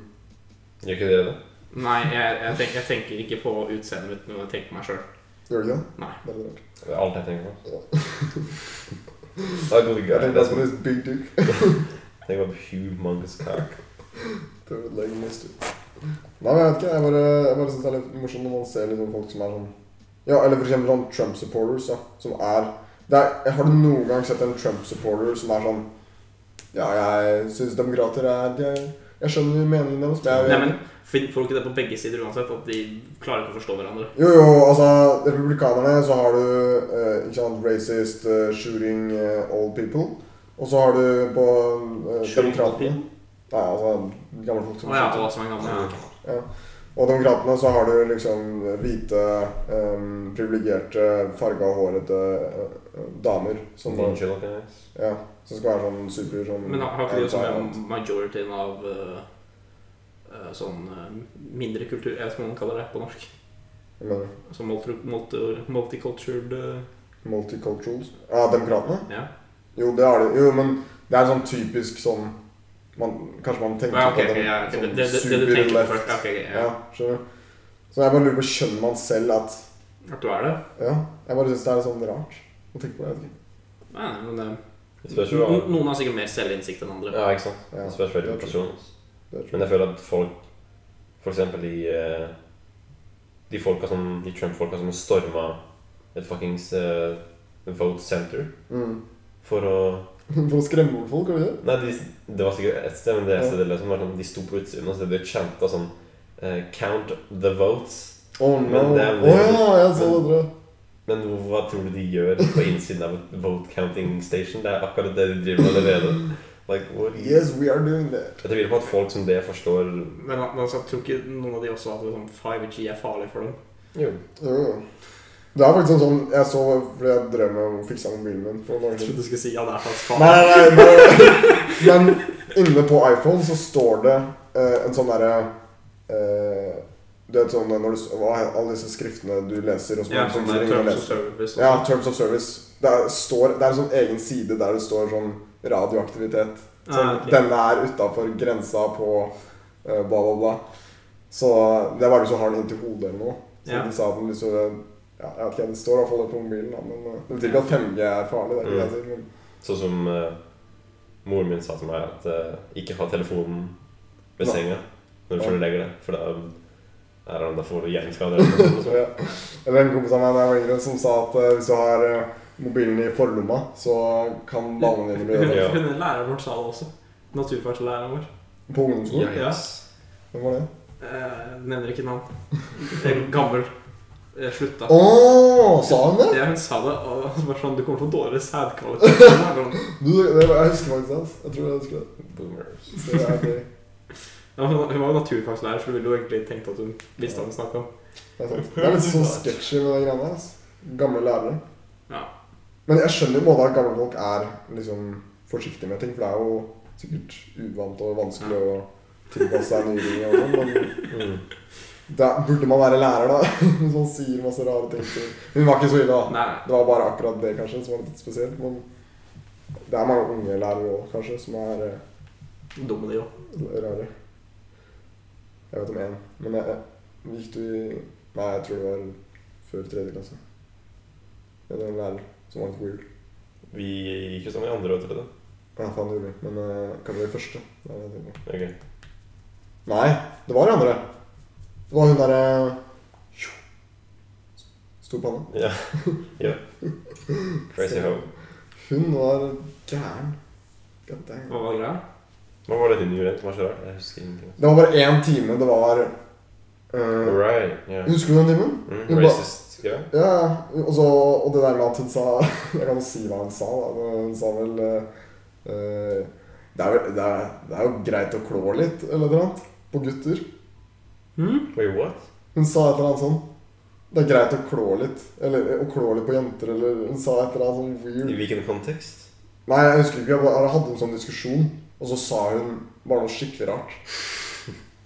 A: Gjør ikke dere det?
B: Nei, jeg, jeg, tenker, jeg tenker ikke på utseendet mitt, men jeg tenker på meg sjøl.
C: Gjør du ikke det?
B: Nei.
C: Veldig rart.
A: Det er alt jeg tenker på. Det er god
C: Jeg
A: guy. Det
C: tenkte
A: er
C: på
A: som
C: this big dick.
A: Tenk på humongous cock.
C: Third leg mystery. Nei, men jeg vet ikke. Jeg bare, jeg bare synes det er litt morsomt når man ser liksom folk som er sånn Ja, eller for eksempel sånn Trump-supporters, da. Som er, det er Har du noen gang sett en Trump-supporter som er sånn Ja, jeg syns demokrater er jeg, jeg skjønner meningen deres, men jeg
B: Nei, men fin- Får du ikke det på begge sider uansett? At de klarer ikke å forstå hverandre?
C: Jo, jo, altså Republikanerne, så har du eh, ikke sant, racist eh, shooting eh, old people. Og så har du på eh,
B: Shooting old
C: Demokratene Nei, altså gamle folk som
B: Å ja,
C: skyter.
B: alle Sånn som er gamle. ja, ok.
C: Og demokratene så har du liksom hvite, um, privilegerte, farga og hårete eh, damer som,
A: Sånn
C: bare,
A: chill looking ass.
C: ja, som skal være sånn super sånn
B: Mm. Men har har ikke de også
C: anti-alt.
B: med majorityen av eh, eh, sånn eh, mindre kultur Jeg vet ikke hva man kaller det på norsk.
C: Jeg mener,
B: Sånn multi- multi- multicultured eh,
C: Multiculturals. Ja, demokratene?
B: Ja.
C: Jo, det har de. Jo, men det er sånn typisk sånn man, Kanskje man tenker
B: Ja, ok,
C: på
B: ok,
C: den
B: ja, ok,
C: sånn
B: det, det, det du
C: super
B: tenker på
C: left.
B: først. ja, ok, ok,
C: ja. skjønner du. Så jeg bare lurer på Skjønner man selv at
B: ja. At du er det?
C: Ja, jeg bare syns det er sånn rart å tenke på. Jeg vet ikke.
B: Nei, nei, men det,
A: Det spørs jo
B: no-
A: hva
B: Noen har sikkert mer selvinnsikt enn andre.
A: Ja, ikke sant?
C: Ja,
A: Det spørs veldig
C: det
A: på
C: tror jeg.
A: personen. ass.
C: det tror jeg.
A: Men jeg føler at folk For eksempel de eh, De folka som De Trump-folka som storma et fuckings eh, vote center
C: Mm.
A: for å
C: For å skremme bort folk, har vi det?
A: Nei, de, det var sikkert et sted, men det stedet liksom, var sånn, de sto på utsiden og så ble chanta sånn eh, Count the votes.
C: Å oh, no.
A: Men det er
C: Å
A: veldig-
C: ja, jeg så det, tror jeg.
A: Men hva tror du de gjør på innsiden av et vote counting station? Det er akkurat det de driver med allerede. Like, what do you-
C: Yes, we are doing that.
A: Jeg tviler på at folk som det forstår
B: Men al- altså, jeg tror ikke noen av de også at liksom, 5G er farlig for dem.
A: Jo.
C: Jo, jo. Det er faktisk en sånn Jeg så fordi jeg drev med å fikse mobilen min for
B: Jeg
C: noen dager siden.
B: trodde du skulle si ja, det er faktisk
C: Nei,
B: farlig.
C: nei, nei. bare- Men inne på iPhone så står det eh, en sånn derre eh, Du vet sånn når du s- hva er alle disse skriftene du leser og som
B: Ja,
C: du
B: sånn
C: ringer
B: der, terms
C: og leser.
B: of service. og
C: Ja,
B: sånn.
C: Terms of Service. Det er, står, det er en sånn egen side der det står sånn radioaktivitet. Sånn,
B: Ah, ok.
C: Denne er utafor grensa på eh, bla, bla, bla. Så det er bare hvis du har den inntil hodet eller noe. Så
B: Ja.
C: de sa den hvis du ja, jeg vet ikke, Det står i hvert fall det på mobilen, da, men eh, det betyr ikke at 5G er farlig. det er ikke det jeg sier, men
A: Sånn som eh, moren min sa til meg at eh, ikke ha telefonen ved
C: Nei.
A: senga når du
C: Ja.
A: først legger deg, for da er han der for hjerneskader. eller noe
C: Så
A: sånt.
C: jeg, eller en kompis av meg da jeg var yngre som sa at eh, hvis du har eh, mobilen i forlomma, så kan ballene dine bli
B: Hun,
A: Ja.
C: ødelagt.
B: hun læreren vår sa det også. Naturfaglæreren vår.
C: På ungdomsskolen?
A: Yikes.
C: Hvem var det?
B: Eh, nevner ikke navn. En Gammel. Eh, Slutta.
C: Å, sa hun det?
B: Ja, hun sa det, og det var sånn Du kommer til å få dårligere sædkvalitet.
C: Du, det var, jeg husker faktisk det. ass. Jeg tror jeg husker det.
A: Boomers.
C: Så det er gøy.
B: Ja, hun, hun var jo naturfagslærer, så du ville jo egentlig tenkt at hun visste hva hun snakka om.
C: Det er sant. Det er litt sånn sketchy med de greiene her. ass. Gamle lærere.
B: Ja.
C: Men jeg skjønner jo både at gamle folk er liksom forsiktige med ting, for det er jo sikkert uvant og vanskelig å tilpasse seg nye ting. og sånn, Men
A: Mm.
C: da burde man være lærer, da. Hvis man sier masse rare ting. til- Hun var ikke så ille, da.
B: Nei.
C: Det var bare akkurat det kanskje som var litt spesielt. Men det er mange unge lærere òg, kanskje, som er eh,
B: Dumme de òg.
C: rare. Jeg vet om én. Men jeg, jeg gikk du i Nei, jeg tror det var før tredje klasse. Jeg hadde en lærer som var litt weird.
A: Vi gikk jo sammen i andre og tredje.
C: Nei, faen det gjorde vi. Men eh, kanskje i første. Det er det jeg tenker på.
A: Ok.
C: Nei, det var i andre. Det var hun derre Tjo. Stor panne.
A: Ja. ja. Crazy hoe.
C: Hun var gæren. God damn.
B: Hva var greia?
A: Hva var det hun gjorde som var så rart? Jeg husker ingenting.
C: Det var bare én time. Det var eh,
A: Right, yeah.
C: Husker du den timen?
A: mm,
C: Hun ba-
A: Racist guy?
C: Ja, ja. og, så, og det der med at hun sa Jeg kan jo si hva hun sa, da. men Hun sa vel eh, eh, det, er, vel- det, er, det er jo greit å klå litt, eller noe annet, på gutter.
B: Hm?
A: Wait, what?
C: Hun sa et eller annet sånn Det er greit å klå litt. Eller eh, å klå litt på jenter, eller Hun sa et eller annet sånn
A: I
C: weird
A: hvilken kontekst?
C: Nei, jeg husker ikke. Jeg bare hadde en sånn diskusjon, og så sa hun bare noe skikkelig rart.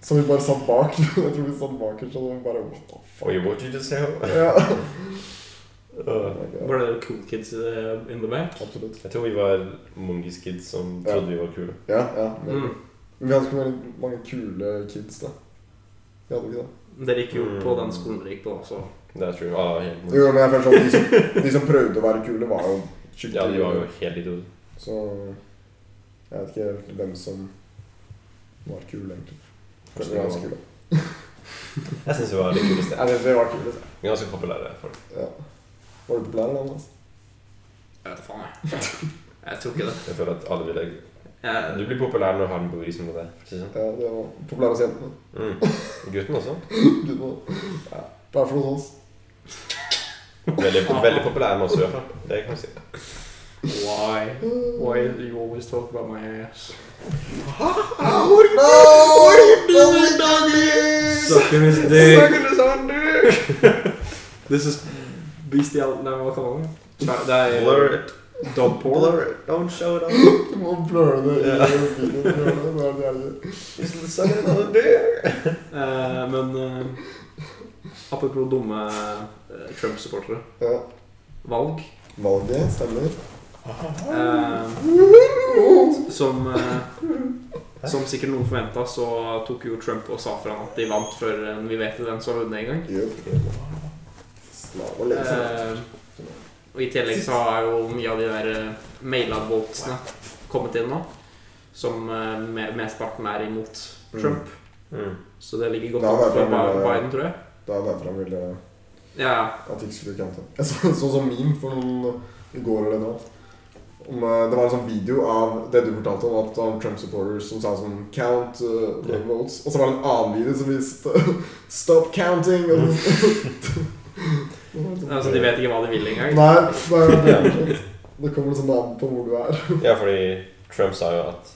C: Så vi bare satt bak. Jeg tror vi satt bakerst, og så bare What the
A: Wait,
C: fuck?
A: what did you just say?
C: Ja.
A: Uh,
B: Var dere cool kids eh, in the back?
C: Absolutt.
A: jeg tror vi var mongisk kids som trodde vi var kule.
C: Ja, ja. men-
B: Mm.
C: Vi hadde ikke veldig mange kule kids, da. Vi hadde ikke det.
B: Dere gikk jo
A: Mm.
B: på den skolen dere gikk på, så
A: Det er true. Ah, helt
C: Jo, men jeg følte sånn, de som, de som prøvde å være kule, var jo
A: Ja, de var jo helt idioter.
C: Så jeg vet ikke hvem som var kule, egentlig. Kanskje vi var ganske kule.
A: Jeg syns vi var litt kuleste.
C: Jeg vet vi var kule. så.
A: Ganske populære folk.
C: Ja. Var du populær, da? Jonas?
B: Jeg vet da faen, jeg. Jeg tror ikke det.
A: Jeg føler at alle vil deg. Du
B: Jeg,
A: blir populær når du har en booty som det. for å si det sånn.
C: Ja, det var populær hos jentene.
A: Mm. Gutten også.
C: Gud, nå. Ja. Bare for noe sånt.
A: Veldig, veldig populær med oss i hvert fall. Det kan vi si.
B: why? Why do you always talk about my ass?
C: Hvor er dine daglys?
B: Sucking his dick.
C: Snakker du sånn, du?
B: This is bestial... Nei, hva kaller man det? Nei, Det er
A: Blur it.
B: dog porn.
A: Blur it. Don't show it off.
C: Du må blurre det i
A: Ja.
C: videoen. blurre det, det er det jævlig.
A: Just suck it on the dick.
B: Eh, men eh, apropos dumme eh, Trump-supportere.
C: Ja.
B: Valg.
C: Valget stemmer.
B: Eh, som, eh, som sikkert noen forventa, så tok jo Trump og sa fra han at de vant før eh, vi vet hvem som har vunnet en gang.
C: Yep. Slav og lese.
B: Eh, og i tillegg så har jo mye av de der eh, maila-voltsene kommet inn nå. Som eh, me- mesteparten er imot Trump.
A: Mm.
B: Så det ligger godt
C: Ja, det
B: an
C: er
B: for Bi-
C: bra, men, eh,
B: Biden, tror jeg.
C: Det er derfor han ville
B: Ja,
C: at de ikke skulle kjente ham. Jeg så en sånn som meme for noen eh, i går eller noe. Om, eh, det var en sånn video av det du fortalte om, at det var en Trump-supporters som sa sånn Count eh, the
A: Ja.
C: votes. Og så var det en annen video som viste Stop counting! Og så,
B: altså De vet ikke hva de vil engang.
C: nei, det er jo helt Det kommer liksom an på hvor du er.
A: Ja, fordi Trump sa jo at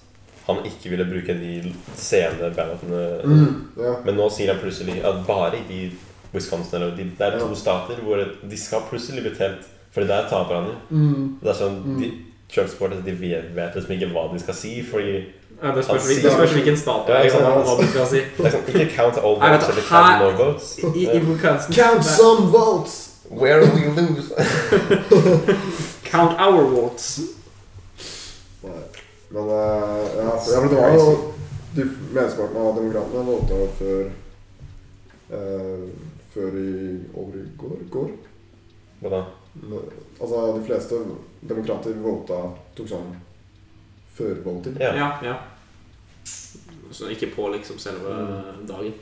A: han ikke ville bruke de sene ballotene.
C: Ja.
A: Men nå sier han plutselig at bare i Wisconsin eller de, Det er to
C: Ja.
A: stater hvor de skal plutselig bli telt, for der taper han jo.
C: Mm.
A: Det er sånn,
C: Mm.
A: de, Trump-sportere de vet, vet liksom ikke hva de skal si, fordi
B: Ja, Det spørs
A: Han
B: hvil-
A: sier-
B: det spørs hvilken stat det
A: Ja,
B: er.
A: ikke sant,
B: liksom,
A: han-
B: Hva du skal si.
A: det er sånn, Ikke count all
B: Nei, vet
A: votes
B: du,
A: eller count
B: her-
A: no votes.
B: I, i Wisconsin det
C: Count
B: er
C: some votes!
A: Where we lose.
B: Count our votes.
C: Nei. Men eh, ja, for, ja, men det var jo de Menneskepartene og Demokratene valgte jo før eh, før i over i går. går.
A: Hva da?
C: Men, Altså, de fleste demokrater vota tok sånn førvoting.
A: Ja.
B: Ja, ja. Så ikke på liksom selve dagen.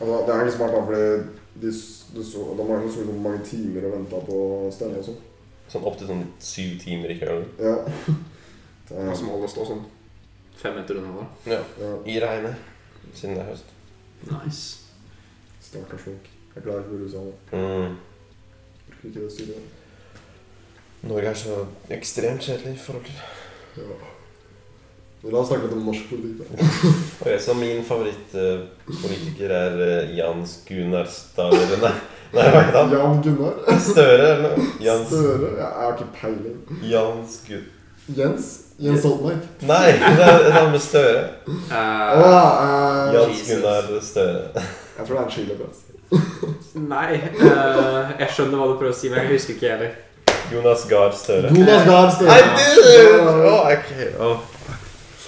C: Altså, det er egentlig smart da, fordi de, s- du så, de har jo så liksom mange timer og venta på å stemme og sånn.
A: Sånn opptil sånn syv timer i køen.
C: Ja. Det
B: Han
C: er,
B: som holder stå sånn fem meter unna der.
A: Ja.
C: ja.
A: I regnet. Siden det er høst.
B: Nice.
C: Stakkars folk. Jeg klarer ikke å bruke sånn.
A: Mm.
C: Bruker ikke det styret.
A: Norge er så ekstremt kjedelig i forhold til
C: Ja. Men La oss snakke litt om norsk politikk, da.
A: Ok, Så min favorittpolitiker er eh, Jans Gunnar Støre Nei, nei hva heter han?
C: Jan Gunnar
A: Støre, eller? noe? Jans,
C: Støre? Jeg har ikke peiling.
A: Jans Gun...
C: Jens? Jens Stoltenberg?
A: Nei, det er det er han med Støre.
C: Å
B: Eh,
C: ja. eh,
A: Jans
B: Jesus.
A: Gunnar Støre.
C: Jeg tror det er en chiliplass.
B: nei. eh, jeg skjønner hva du prøver å si, men jeg husker ikke heller.
A: Jonas Gahr Støre.
C: Jonas Gahr Støre.
A: Nei, dude! Åh, ok. åh.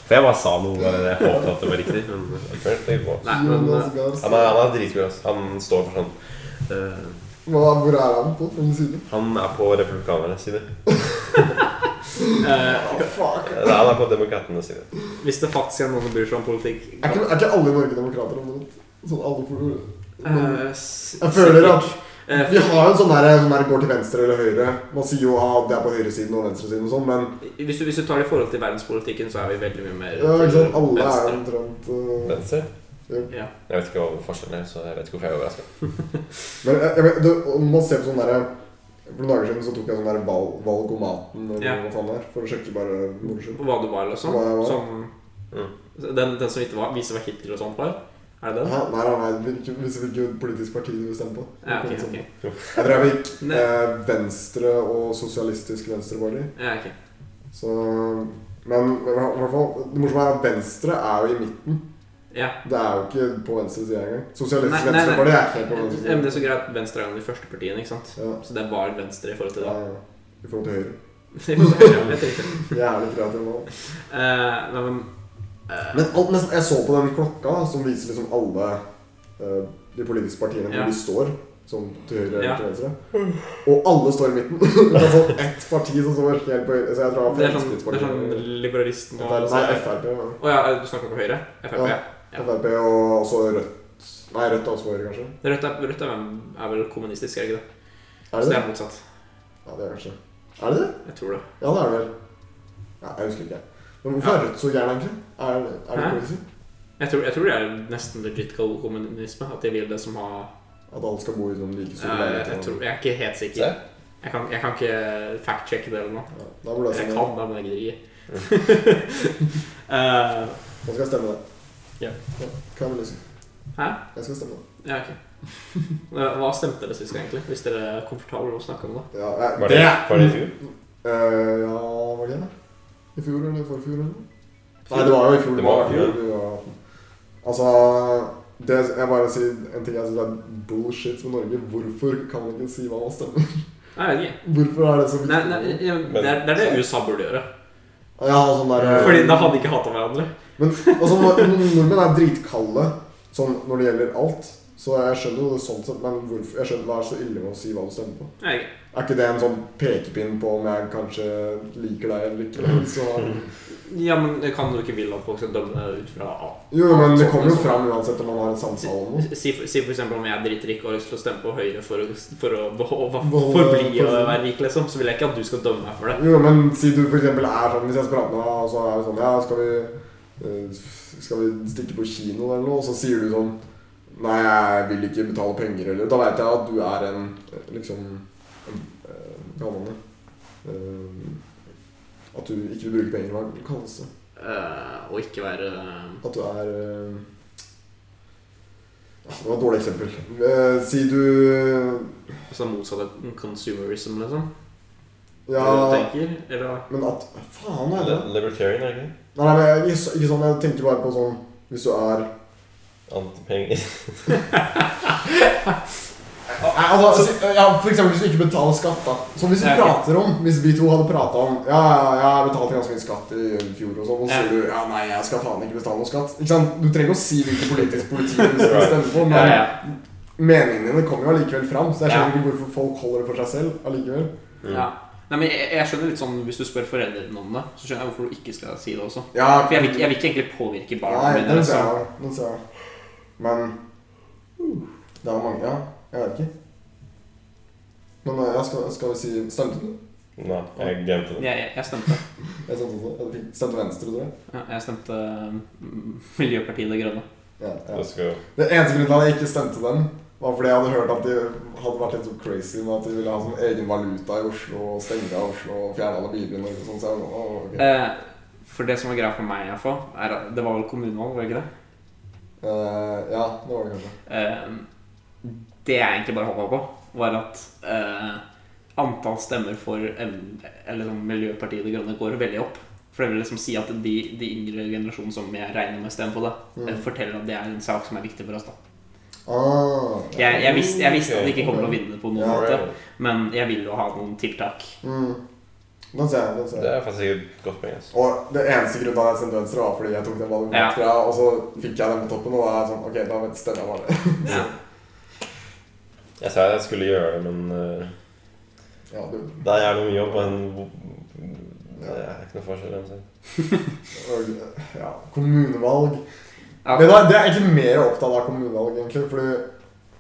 A: For jeg bare sa noe bare det. Jeg håpet at det var riktig. Men jeg følte det ikke på.
B: Nei, men
C: Jonas
B: eh,
C: Gahr
A: Han er,
C: Støre.
A: han er dritkul. ass. Han står for sånn eh,
C: Hva- Hvor er han på den siden?
A: Han er på republikanernes side.
B: eh,
C: Oh, fuck.
A: Nei, han er på demokratenes side.
B: hvis det faktisk er noen som bryr seg om politikk
C: Er ikke, er ikke alle i Norge demokrater omvendt? Sånn alle for...
B: Eh, s-
C: Jeg føler at
B: eh,
C: Vi har jo en sånn der som er går til venstre eller høyre. Man sier jo at det er på høyresiden og venstresiden og sånn, men
B: hvis, du, hvis du tar det i forhold til verdenspolitikken, så er vi veldig mye mer
C: ja, ikke sant? alle er
B: venstre.
C: omtrent øh,
A: Venstre?
B: Ja.
A: Jeg vet ikke hva forskjellen er, så jeg vet ikke hvorfor jeg er overraska.
C: Men eh, jeg, jeg vet, det, om man ser på sånn derre For noen dager siden så tok jeg sånn der valg, valgomaten eller
B: Ja.
C: hva faen det er, for å sjekke bare moro skyld.
B: Hva du var, eller sånn.
C: Hva jeg var.
B: Sånn- Den, den som ikke var, viser hva Hitler og sånt var? Er det den?
C: Hæ? Nei, nei, nei, hvilke- hvis hvilket politisk parti du vil stemme på.
B: Ja, ok,
C: Sånn.
B: ok.
C: Jeg tror jeg gikk
B: Nei.
C: eh, Venstre og Sosialistisk Venstreparti.
B: Ja, ok.
C: Så Men i hvert fall Det morsomme er at Venstre er jo i midten.
B: Ja.
C: Det er jo ikke på venstre side engang.
B: Nei,
C: Sosialistisk
B: nei, nei.
C: Venstreparti er ikke helt på
B: Ja,
C: venstre side.
B: Men det er så greit at Venstre er en av de første partiene, ikke sant?
C: Ja.
B: Så det var venstre i forhold til
C: Ja,
B: det.
C: ja. I forhold til høyre.
B: Det var høyre, helt riktig.
C: Jævlig kreativ nå.
B: Eh, nei, men eh,
C: Men alt, nesten, jeg så på den klokka som viser liksom alle eh, de politiske partiene hvor
B: Ja.
C: de står. Sånn til høyre eller
B: Ja.
C: til venstre. Og alle står i midten. Det er sånn ett parti som står helt på høyre. Så jeg tror
B: det er sånn, det er
C: Fremskrittspartiet
B: sånn liberalisten og sånn.
C: Nei, Frp. ja.
B: Å ja, du snakker på høyre? Frp, ja.
C: Ja. Frp og også Rødt. Nei, Rødt er også på høyre, kanskje.
B: Rødt, er, Rødt er, hvem- er vel kommunistisk, er det ikke det?
C: Er
B: Så
C: det
B: det
C: det?
B: er motsatt.
C: Ja, det er kanskje. Er det det?
B: Jeg tror det.
C: Ja, det er det vel. Ja, jeg husker ikke. Men hvorfor
B: Ja.
C: er Rødt så gæren, egentlig? Er, er det
B: Hæ?
C: crazy?
B: Jeg tror, jeg tror det er nesten legit kommunisme. At de vil det som har
C: At alle skal bo i sånn like store
B: Eh, jeg, jeg,
C: leiligheter?
B: tror, jeg er ikke helt sikker.
A: Se.
B: Jeg kan, jeg kan ikke fact-sjekke det eller noe.
C: Ja, da burde jeg
B: Jeg
C: stemme.
B: kan det, men jeg gidder ikke. Eh,
C: Jeg skal stemme det.
B: Ja.
C: Hva vil du si?
B: Hæ?
C: Jeg skal stemme det.
B: ja, ok. Hva stemte dere sist, egentlig? Hvis dere er komfortable med å snakke om det?
C: Ja, jeg,
A: Var det, var det i fjor?
C: Eh, ja, var det det? I fjor eller forfjor eller noe? Nei, det var jo i fjor.
A: Det var i fjor.
C: vi var- Altså, det, jeg bare sier en ting jeg synes er bullshit med Norge. Hvorfor kan man ikke si hva man stemmer?
B: Nei, jeg vet ikke.
C: Hvorfor er det så viktig?
B: Nei, nei, ja, det, er, det er det USA burde gjøre.
C: Ja, sånn der, eh,
B: Fordi da hadde de ikke hata hverandre.
C: Men altså, når- når nordmenn er dritkalde sånn, når det gjelder alt. Så jeg skjønner jo det sånn sett, men hvorfor, jeg skjønner hva er så ille med å si hva du stemmer på?
B: Nei, jeg-
C: Er ikke det en sånn pekepinn på om jeg kanskje liker deg eller ikke? Så,
B: Ja, men jeg kan jo ikke ville at folk skal dømme deg ut fra alt.
C: jo, men det kommer jo fram uansett om man har en samtale om noe.
B: Si, for- si for eksempel om jeg er dritrik og har lyst til å stemme på Høyre for å, for å beholde,
C: Beholde-
B: forbli og være rik, liksom, så vil jeg ikke at du skal dømme meg for det.
C: Jo, men si du for eksempel er sånn, hvis jeg prater med deg, og så er det sånn, ja, skal vi, eh, skal vi stikke på kino eller noe? Og så sier du sånn, nei, jeg vil ikke betale penger eller Da vet jeg at du er en, eh, liksom, en, eh, hva kaller man det? Eh, At du ikke vil bruke penger, hva kalles det?
B: Eh, og ikke være eh,
C: At du er eh, ja, Det var et dårlig eksempel. Eh, si du
B: altså motsatt av consumerism, liksom.
C: Ja,
B: Eller tenker, eller hva?
C: men at Faen, hva er det?
A: Li- Libertarian, er det ikke?
C: Nei, nei, men jeg- ikke, ikke sånn. Jeg tenker bare på sånn Hvis du er
A: Antipenger.
C: Nei, altså, si- ja, For eksempel hvis du ikke betaler skatt, da. Som hvis vi
B: Ja, ok.
C: prater om Hvis vi to hadde prata om Ja, ja, ja, jeg betalte ganske mye skatt i fjor, og sånn, og så
B: Ja.
C: sier du Ja, nei, jeg skal faen ikke betale noe skatt. Ikke sant? Du trenger ikke å si hvilken politisk politi du skal
A: Right.
C: stemme på, men
B: Ja, ja.
C: meningene dine kommer jo allikevel fram, så jeg
B: Ja.
C: skjønner ikke hvorfor folk holder det for seg selv allikevel.
A: Mm.
B: Ja. Nei, men jeg, jeg skjønner litt sånn, Hvis du spør foreldrene om det, så skjønner jeg hvorfor du ikke skal si det også.
C: Ja,
B: For Jeg vil, ikke- jeg vil ikke egentlig påvirke barna
C: Nei,
B: mine. liksom.
C: den ser
B: så-
C: jeg. Den ser jeg. Men Det var mange Ja, jeg vet ikke. Men eh, jeg skal, skal vi si Stemte du?
A: Nei, jeg glemte det.
B: Jeg, jeg, jeg stemte.
C: Jeg stemte også. Jeg fikk- Stemte venstre, tror jeg.
B: Ja, jeg stemte mm, Miljøpartiet De Grønne.
C: Ja, ja.
A: Det skal
C: Det eneste grunnen til at jeg ikke stemte dem, var fordi jeg hadde hørt at de hadde vært litt så crazy med at de ville ha sånn egen valuta i Oslo, og stenge av Oslo og fjerne alle bilene og sånn. Så jeg, var sånn, «Å, ok.
B: Eh, for det som var greia for meg, i hvert fall, er at det var vel kommunevalg, var det ikke det?
C: Eh, ja, det var det kanskje.
B: Eh, det jeg egentlig bare håpa på, var at eh, antall stemmer for em- eller sånn Miljøpartiet De Grønne går veldig opp. For det vil liksom si at de, de yngre generasjonene som jeg regner med stemmer på det,
C: Mm.
B: eh, forteller at det er en sak som er viktig for oss. da.
C: Ah,
B: Jeg, jeg, visste, jeg visste at de
A: Ok,
B: ikke kommer til å
C: ok.
B: vinne på noen
C: Mm. Ja,
B: måte,
A: jo
B: men jeg vil jo ha noen tiltak.
C: mm. Den ser jeg. Den ser jeg.
A: Det er faktisk et godt poeng. altså. ass.
C: Og det eneste grunnen til at jeg sendte venstre, var fordi jeg tok den ballen
B: Ja.
C: bort fra, og så fikk jeg den på toppen, og da er jeg sånn Ok, da stemmer jeg bare det.
B: Ja.
A: Jeg sa jeg skulle gjøre det, men eh,
C: Ja, du
A: det er jævlig mye jobb. Men det er ikke noe forskjell. altså. uansett.
C: og- Ja, kommunevalg.
B: Ja.
C: Men da, det er egentlig mer opptatt av kommunevalg, egentlig, fordi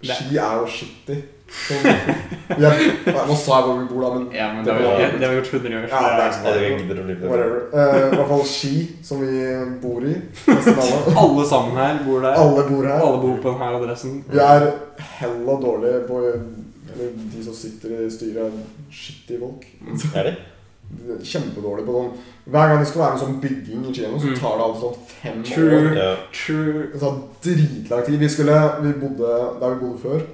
B: Det-
C: Ski er jo shitty. Sånn, jeg, nei, nå sa jeg hvor vi bor, da, men
B: Ja, men det
C: Det
B: har vi
A: var-
B: gjort- det har vi gjort 100 år.
C: Ja, det er
A: Jeg hadde ikke giddet å bli på det.
C: whatever. Eh, I hvert fall Ski, som vi bor i. Nesten alle.
B: Alle sammen her bor der. Alle,
C: Alle bor her.
B: bor på denne adressen.
C: Vi er hella dårlige på Eller de som sitter i styret, er shitty folk.
A: Er det?
C: kjempedårlig på sånn Hver gang det skal være en sånn bygging i Kino, så
B: Mm.
C: tar det alltid sånn fem
B: True.
C: år.
A: Ja.
B: True.
C: Det tar dritlang tid. Vi skulle, vi bodde der vi bodde før,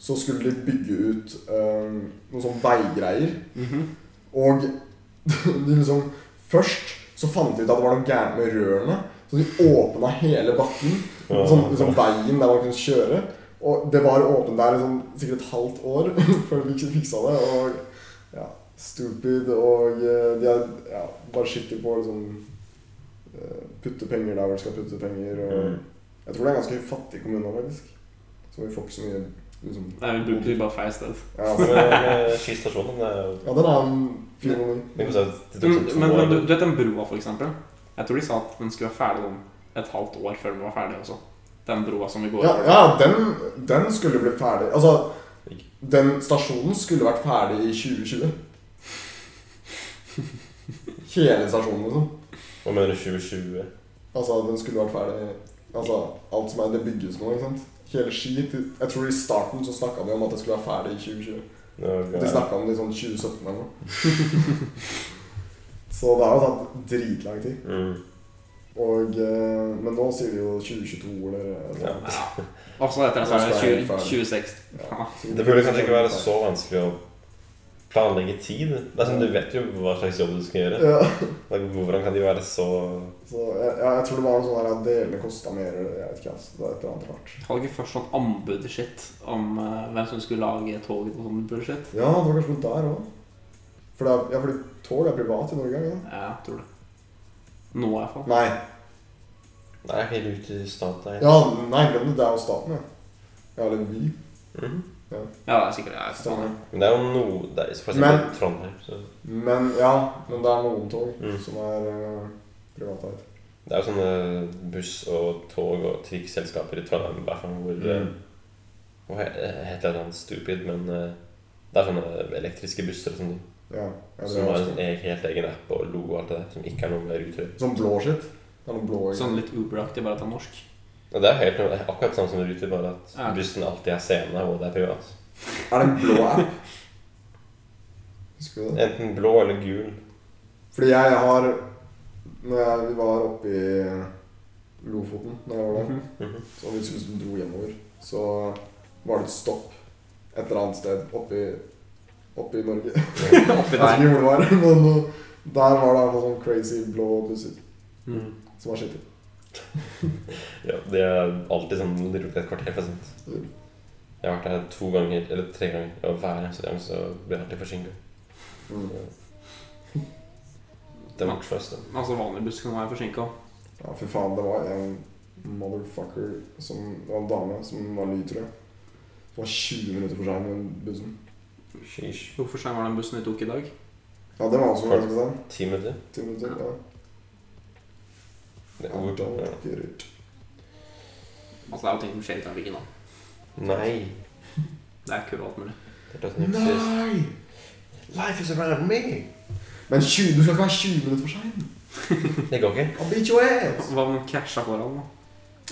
C: så skulle de bygge ut eh, noen sånn veigreier.
B: Mhm.
C: Og de liksom Først så fant de ut at det var noe gærent med rørene, så de åpna hele bakken. Sånn, liksom veien der man kunne kjøre. Og det var åpent der i sånn, sikkert et halvt år før vi ikke fiksa det. Og ja, stupid og eh, De er ja, bare skittige på å liksom eh, putte penger der hvor de skal putte penger. Og
A: Mm.
C: jeg tror det er en ganske fattig kommune, faktisk. Så vi får ikke så mye liksom
B: Nei, vi bruker det bare feil sted.
C: Ja,
A: Men,
C: så,
A: eh, Ski stasjon, den er jo
C: ja den er en fin kommune.
A: Det kan si at det tok
B: Men,
A: sånn to
B: Mm, men,
A: år.
B: du, du vet den broa, for eksempel? Jeg tror de sa at den skulle være ferdig om et halvt år før den var ferdig også. Den broa som vi går
C: Ja,
B: over.
C: ja den, den skulle bli ferdig Altså, den stasjonen skulle vært ferdig i 2020. Hele stasjonen, liksom.
A: Hva mener du 2020?
C: Altså, den skulle vært ferdig Altså, alt som er Det bygges nå, ikke sant? Hele Ski til- Jeg tror i starten så snakka de om at det skulle være ferdig i 2020.
A: Nå
C: Og de snakka om det i sånn 2017 eller noe. så det har jo tatt dritlang tid.
A: Mm.
C: Og eh, Men nå sier de jo 2022 eller
A: Ja.
C: noe.
B: Og så etter det så er det 20, 26.
C: Ja.
A: Det burde kanskje ikke være så vanskelig å planlegge tid. Det er sånn, Du vet jo hva slags jobb du skal gjøre.
C: ja.
A: Like, Hvordan kan de være så
C: Så jeg, ja, jeg tror det var noe sånn her at delene kosta mer eller jeg vet ikke, altså. Det var et eller annet rart.
B: Hadde ikke først sånn anbud-shit om eh, hvem som skulle lage toget og sånn bullshit?
C: Ja, det var kanskje noe der òg. For det er, ja, fordi tog er privat i Norge? er det ikke det?
B: Ja, jeg tror det. Nå, i hvert fall.
C: Nei.
A: Nei, jeg er helt ute i staten. jeg.
C: Ja, nei, glem det. Det er jo staten, ja. Ja, eller vi.
A: Mhm.
B: Ja, det er sikkert jeg er
C: Staten.
A: Men det er jo noe Det er for eksempel
C: Men-
A: Trondheim. Så.
C: Men ja, men det er noen tog
A: Mm.
C: som er uh, privateid.
A: Det er jo sånne buss- og tog- og trikkselskaper i Trondheim i hvert fall hvor mm. Hva he- heter det? Sånn stupid, men eh, det er sånne elektriske busser og sånne,
C: Ja, ja, det
A: som
C: er
A: har
C: også.
A: en e- helt egen app og logo og alt det der, som ikke er noe med ruter.
C: Sånn blå skitt. Det er noe blå i
B: Sånn litt Uber-aktig, bare at det er norsk.
A: Og det er helt noe, det er akkurat samme som ruter, bare at
B: Ja.
A: bussen alltid er scene, og det er privat.
C: Er det en blå app? Husker du det?
A: Enten blå eller gul.
C: Fordi jeg har Når jeg, vi var oppe i Lofoten da jeg var der
A: Mhm.
C: Så vi liksom dro hjemover, så var det et stopp et eller annet sted oppi, oppi Norge. Jeg
B: Oppi
C: vet
B: der.
C: ikke hvor det var, men uh, der var det noen sånn crazy blå busser
B: Mm.
C: som var skittet.
A: Ja, det er alltid sånn rundt et kvarter. for sånt.
C: Mm.
A: Jeg har vært her to ganger, eller tre ganger, og hver eneste gang så blir jeg alltid forsinka. Det er morsomst. da.
B: Altså, vanlig buss kan være forsinka.
C: Ja, fy faen, det var en motherfucker som det var en dame som var ny, tror jeg. Det var 20 minutter for seint, den bussen.
A: Sheesh.
B: Hvorfor sein var den bussen vi tok i dag?
C: Ja, det var også ganske sant.
A: Ti minutter?
C: 10 minutter. Ja.
A: Det er
C: Ja,
A: ord.
C: da var
A: Ja.
C: det ikke rørt.
B: Altså, det er jo ting som skjer i trafikken, da.
A: Nei.
B: Det er kø og alt mulig.
A: Det er det som ikke sies. Life is around me!
C: Men 20, du skal ikke være 20 minutter for sein.
A: Det går ikke.
C: I'll beat your ass.
B: Hva om den krasja foran, da?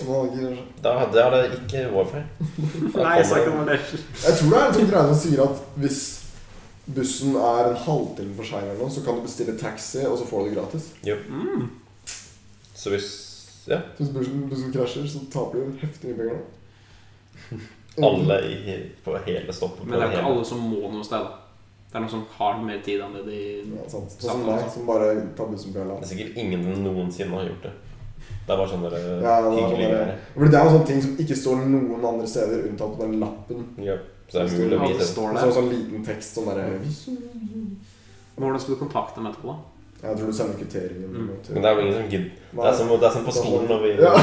C: Og nå hadde ikke-
A: Da hadde jeg det ikke wifi. Da
B: Nei, jeg sa
A: kommer
B: ikke det
A: det.
B: var det.
C: Jeg tror det er en sånn greie som sier at hvis bussen er en halvtime for sein eller noe, så kan du bestille taxi, og så får du det gratis.
B: Mm.
A: Så hvis ja,
C: Så hvis bussen, bussen krasjer, så taper du heftig mye penger da.
A: alle i, på hele stoppet på
B: Men det er jo
A: hele-
B: ikke alle som må noe sted, da. Det er noen som har mer tid enn det de
C: Ja, sant. Sånn som meg, som bare tar bussen på hele
A: Det er
C: landet.
A: sikkert ingen som noensinne har gjort det. Det er bare sånn dere
C: Ja, det er
A: hyggelige
C: bare-
A: greier.
C: Fordi det er en sånn ting som ikke står noen andre steder, unntatt på den lappen.
A: Ja, så det er mulig å
B: Ja, det
A: vite.
C: Og
B: står
C: så er
B: der.
C: det sånn liten tekst som bare
B: Men Hvordan skal du kontakte dem etterpå, da?
C: Jeg tror du sender kvitteringen.
B: Mm.
C: eller noe til-
A: Men det er jo ingen som gidder. Det er som, det er som på skolen når vi
C: Ja.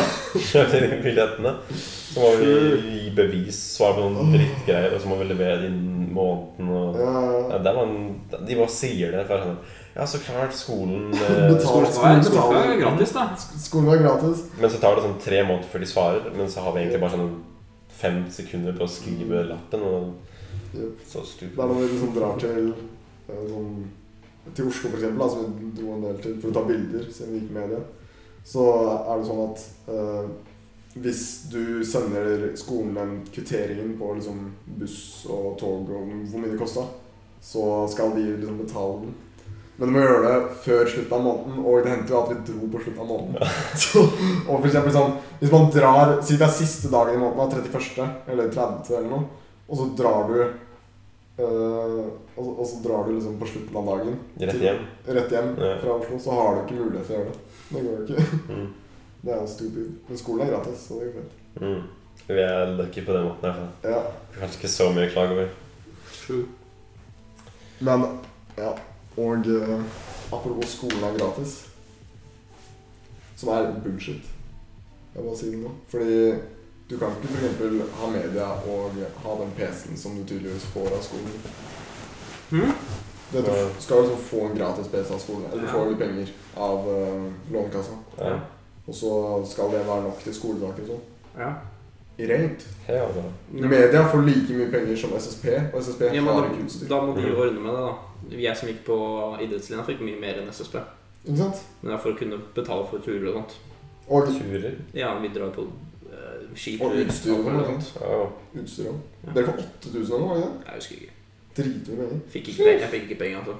A: kjøper inn billettene. Så må vi gi bevis, svare på noen drittgreier, og så må vi levere det innen måneden. Og...
C: Ja.
A: Ja, det er bare- de bare sier det. For sånn, ja, så klart skolen eh,
C: Betal-
B: Skolen skal være- skolen skal være gratis, da.
C: Skolen var gratis.
A: Men så tar det sånn tre måneder før de svarer, men så har vi egentlig bare sånn fem sekunder på å skrive lappen. Og
C: Mm. Yep.
A: så
C: Det er
A: stupid.
C: når vi liksom drar til eh, sånn, Til Oslo, for eksempel, da, som vi dro en del til for å ta bilder siden vi gikk med det, så er det sånn at eh, hvis du sender skolen den kvitteringen på liksom, buss og tog og hvor mye det kosta, så skal de liksom betale den. Men du må gjøre det før slutten av måneden, og det hendte jo at vi dro på slutten av måneden. Så, og for eksempel sånn, hvis man drar, Si det er siste dagen i måneden, da, 31. eller 30. eller noe, og så drar du Eh, og, og så drar du liksom på slutten av dagen
A: Rett hjem.
C: rett hjem
A: Ja.
C: fra Oslo, så har du ikke mulighet til å gjøre det. Det går jo ikke.
A: Mm.
C: Det er jo stupid. Men skolen er gratis, så det går fint.
A: Mm. Vi er lucky på den måten. i hvert fall.
C: Ja.
A: Kanskje ikke så mye å klage over.
B: Sju.
C: Men ja. Og eh, apropos skolen er gratis, som er bullshit. Jeg bare sier det nå. Fordi du kan ikke for eksempel ha media og ha den PC-en som du tydeligvis får av skolen.
B: Hm?
C: Det du
A: Ja.
C: skal liksom få en gratis PC av skolen. Eller du
B: Ja.
C: får jo penger av eh, Lånekassa.
A: Ja.
C: Og så skal det være nok til skoledager og sånn.
B: Ja.
C: Rent.
A: Hei, altså.
C: Media får like mye penger som SSP, og SSP
B: Ja, men
C: har
B: da,
C: ikke utstyr.
B: da må de jo ordne med det, da. Jeg som gikk på idrettslinja, fikk mye mer enn SSB.
C: Ikke sant?
B: Men det er for å kunne betale for turer og sånt.
C: Og
A: Turer.
B: Ja, vi drar på uh,
C: Og
B: skiturer.
C: utstyr og
B: alt mulig
C: sånt.
B: sånt.
A: Ja.
C: utstyr òg.
B: Ja.
C: Dere får 8000 eller noe? var det ikke
B: Jeg husker ikke.
C: det? Dritmye penger.
B: Fikk ikke penger, jeg fikk ikke penger, altså.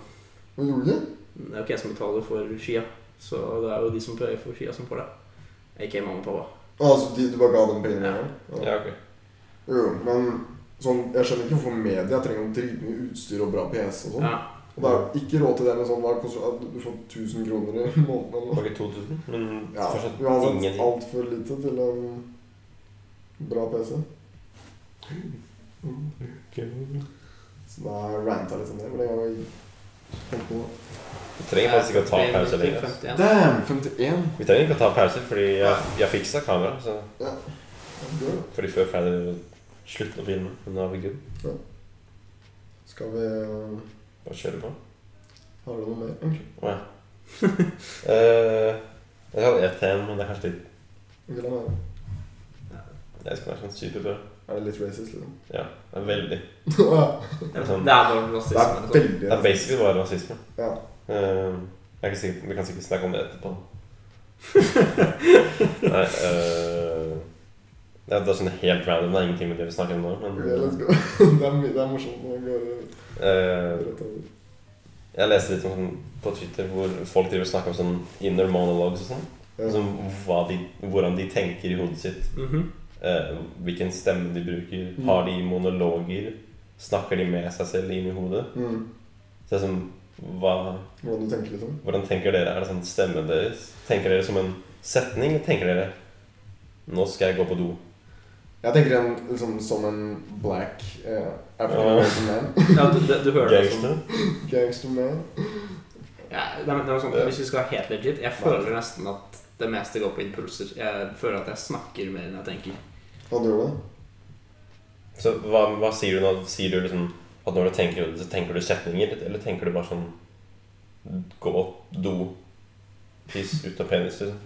C: Men gjorde dere ikke?
B: Det er jo ikke jeg som betaler for skia, så det er jo de som pleier for skia, som får det. Ikke mamma og pappa.
C: Altså, de, du bare ga dem pengene? Ja.
A: ja, ok.
C: Jo, men sånn, jeg skjønner ikke hvorfor media trenger noe dritmye utstyr og bra PC og sånn.
B: Ja.
C: Og det er jo ikke råd til det med sånn hva koster det? Du får 1000 kroner i
A: Det
C: måneden eller noe.
A: var ikke 2000, men
C: Ja,
A: fortsatt
C: uansett
A: ingenting.
C: altfor lite til en bra PC. Så da ranta litt om det. Hvor lenge har vi holdt på nå?
A: Vi trenger faktisk ikke å ta pause lenger. ass.
B: 51.
C: Damn, 51.
A: Vi trenger ikke å ta pause, fordi jeg, jeg fiksa kamera. Så.
C: Ja, det er det.
A: Fordi før pleide vi å slutte å filme, men nå er vi good.
C: Skal vi Har
A: Bare kjøre på.
C: du noe mer? egentlig?
A: Å, ja. Eh, jeg hadde ett igjen, men det er kanskje litt
C: Ikke la være.
A: Jeg skal være sånn superbra.
C: Er det litt racist, liksom?
A: Ja, det er veldig.
C: det
B: Det er bare
C: er
B: rasisme. sånn.
C: veldig
A: Det er basically bare rasisme.
C: Ja.
A: Eh, jeg er ikke sikker, vi kan sikkert snakke om det etterpå. Nei eh, Det er det er sånn helt random. Det er ingenting med det vi snakker om nå. Men
C: Ok, let's go. Det er, my- det er morsomt når man går
A: eh,
C: rett over.
A: jeg leste litt om sånn på Twitter hvor folk driver og snakker om sånn inner monologues og sånn.
C: Ja.
A: Som hva de, hvordan de tenker i hodet sitt.
B: Mhm.
A: eh, hvilken stemme de bruker. Har de monologer? Snakker de med seg selv inn i hodet?
C: Mm.
A: Så det er sånn, hva,
C: Hvordan du tenker, liksom?
A: Hvordan tenker dere? Er det sånn stemmen deres? Tenker dere som en setning? Tenker dere Nå skal jeg gå på do.
C: Jeg tenker en, liksom, som en black eh, African American man.
B: Ja, du, du, du hører det som
A: Gangster?
C: Gangster man.
B: Ja, det er, det er sånn, hvis vi skal være helt legit, jeg føler nesten at det meste går på impulser. Jeg føler at jeg snakker mer enn jeg tenker.
C: Han gjør det.
A: Så hva, hva sier du nå? Sier du liksom at når du tenker, så tenker du setninger, eller tenker du bare sånn Gå, do, tiss ut av penis, liksom?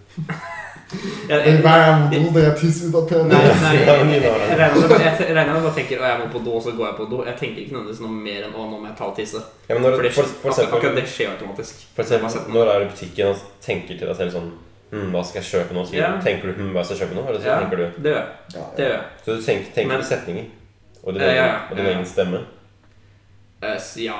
B: Jeg,
C: Men hver gang jeg må på do, det er tiss ut av
B: Nei,
C: penis.
B: nei,
A: Ja,
B: jeg
A: men Nina har det.
B: jeg regner med jeg regner med at jeg bare tenker Å, jeg må på do, og så går jeg på do. Jeg tenker ikke nødvendigvis noe mer enn å, nå må jeg ta og tisse.
A: Ja, men
B: For,
A: når,
B: det,
A: for, for
B: akkurat,
A: eksempel
B: akkurat det skjer automatisk.
A: For eksempel, når du er i butikken og tenker til deg selv sånn hm, Hva skal jeg kjøpe nå? Sier
B: Ja.
A: du, tenker du hm, hva skal jeg kjøpe nå? Eller så
B: Ja.
A: tenker du
B: Det gjør jeg.
C: Ja,
B: Det
C: ja.
B: gjør jeg.
A: Så du tenker, tenker
B: Men-
A: på setninger. Og din,
B: Ja,
A: egen,
B: ja,
A: og din
B: ja.
A: egen stemme.
B: Eh, s- Ja.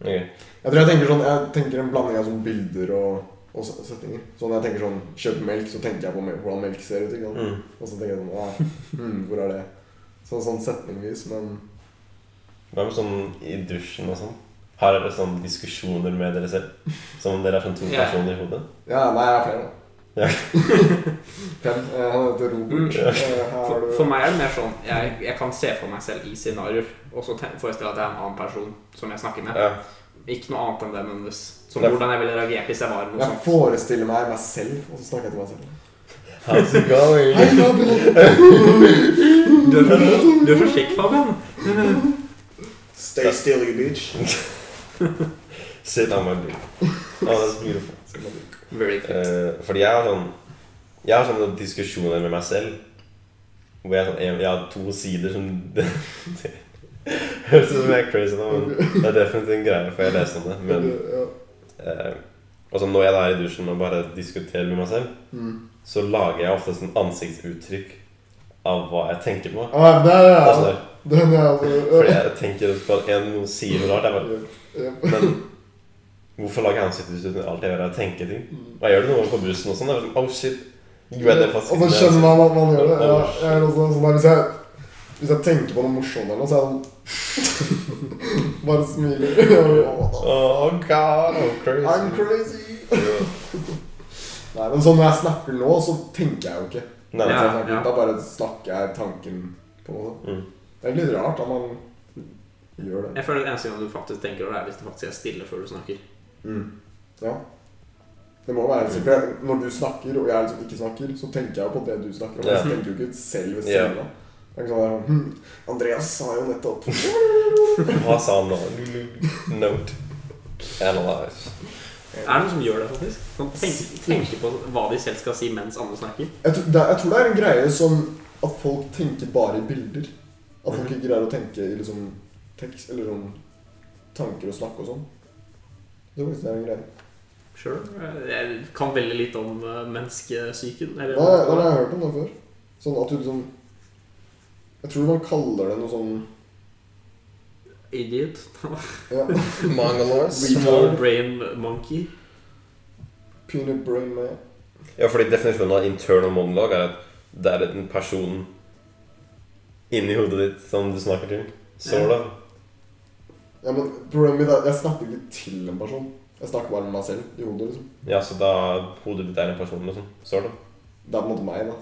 A: Ok.
C: Jeg tror jeg tenker sånn, jeg tenker en blanding av sånn bilder og, og s- setninger. Så når jeg tenker sånn, kjøp melk, så tenker jeg på mel- hvordan melk ser ut. ikke sant?
A: Mm.
C: Og så tenker jeg sånn, ah, hmm, hvor er det? Sånn, sånn setningvis, men
A: Hva med sånn i dusjen og sånn? Har dere sånn diskusjoner med dere selv? Som om dere er sånn to
B: Ja.
A: personer i hodet?
C: Ja, nei, jeg er flere.
A: Ja.
C: Fem. Eh, Han heter
A: Mm.
C: Robert. Eh, Her har
B: For,
C: du
B: for meg er det mer sånn jeg, jeg kan se for meg selv i scenarioer, og så ten- forestille at jeg er en annen person som jeg snakker med.
A: Ja.
B: Ikke noe annet enn det, nødvendigvis. Som
A: Ja.
B: hvordan jeg ville reagert hvis jeg var noe
C: Jeg
B: sånt.
C: forestiller meg meg selv, og så snakker jeg til meg selv.
A: How's it
C: Hei,
A: going?
C: Gabriel!
B: Du er, så, du er så kjekk, Fabian.
C: Stay still, you bitch.
A: Sit on my beard. Oh, that's beautiful.
B: Very good.
A: Eh, fordi jeg har sånn Jeg har sånne diskusjoner med meg selv. Hvor jeg, sånn, jeg, jeg har to sider som det, det, Høres ut som jeg er crazy nå, men det er definitivt en greie, for jeg leste om det. Men
C: Ja.
A: eh, altså når jeg da er i dusjen og bare diskuterer med meg selv,
C: Mm.
A: så lager jeg ofte sånn ansiktsuttrykk av hva jeg tenker på.
C: Ah, der, ja.
A: Altså,
C: Den er altså
A: fordi jeg tenker på at en noe sier noe rart. Jeg bare,
C: Ja.
A: men hvorfor lager jeg ansiktsuttrykk når alt jeg gjør, er å tenke ting? Og jeg gjør det noen ganger på bussen og sånn. det er sånn, Oh shit. gjorde jeg det
C: Eh, Og
A: faktisk
C: så
A: ikke?»
C: skjønner man at man gjør det. Ja, jeg er også sånn der, hvis, jeg, hvis jeg tenker på noe morsomt eller noe, så er jeg sånn Bare smiler.
A: Oh god, I'm crazy.
C: I'm crazy!
A: Ja.
C: Nei, men sånn når jeg snakker nå, så tenker jeg jo ikke.
A: Nei,
B: Ja.
A: nei.
C: Så jeg snakker- Da bare snakker jeg tanken på en måte.
A: Mm.
C: Det er egentlig litt rart at man gjør det.
B: Jeg føler det eneste gang du faktisk tenker over det, er hvis du faktisk er stille før du snakker.
C: Mm. Ja. Det må være helt sikkert. Når du snakker, og jeg liksom ikke snakker, så tenker jeg jo på det du snakker om.
A: Ja.
C: Jeg tenker jo ikke selv ved
A: Ja.
C: siden av. Det er ikke sånn der, hm, Andreas sa jo nettopp
A: Hva sa han nå? Note. Analyze.
B: Er det noen som gjør det, faktisk? Som tenker, tenker på hva de selv skal si mens andre snakker?
C: jeg, tror- det, er- jeg tror det er en greie som at folk tenker bare i bilder. At folk ikke greier å tenke i liksom tekst Eller sånn tanker og snakke og sånn. Det er faktisk det er en greie.
B: Sure. Jeg kan veldig lite om eh, menneskesyken. Eller,
C: Da, da har jeg hørt om det før. Sånn at du liksom Jeg tror man kaller det noe sånn
B: Idiot.
C: ja,
A: Mongoloids.
B: Small brain monkey.
C: peanut brain med
A: Ja, fordi definisjonen av internal monolog er at det er en person inni hodet ditt som du snakker til. Sort of.
C: Ja, men Problemet mitt er at jeg snakker ikke til en person. Jeg snakker bare med meg selv i hodet. liksom
A: Ja, så da hodet ditt er en person, liksom. Sort of.
C: Det er på en måte meg, da.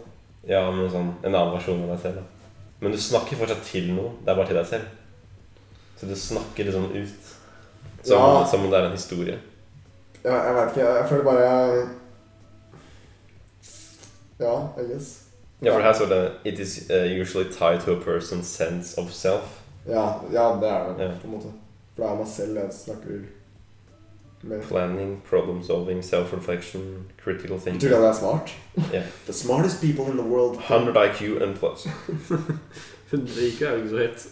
A: Ja, men sånn en annen versjon av deg selv. da. Men du snakker fortsatt til noe. Det er bare til deg selv. Så du snakker liksom ut. Som,
C: Ja.
A: som om det er en historie.
C: Jeg, jeg vet ikke. Jeg, jeg føler bare jeg Ja, I guess.
A: Ja, for her står det It is uh, usually tied to a person's sense of self.
C: Ja, ja det er det,
A: Ja.
C: på en måte. For det er meg selv jeg snakker med.
A: Planning, problem solving, self-reflection, critical
C: Betyr det
A: thinking.
C: at jeg er smart?
A: Ja.
C: The smartest people in the world
A: 100 IQ and plus.
B: 100 IQ er jo ikke så høyt.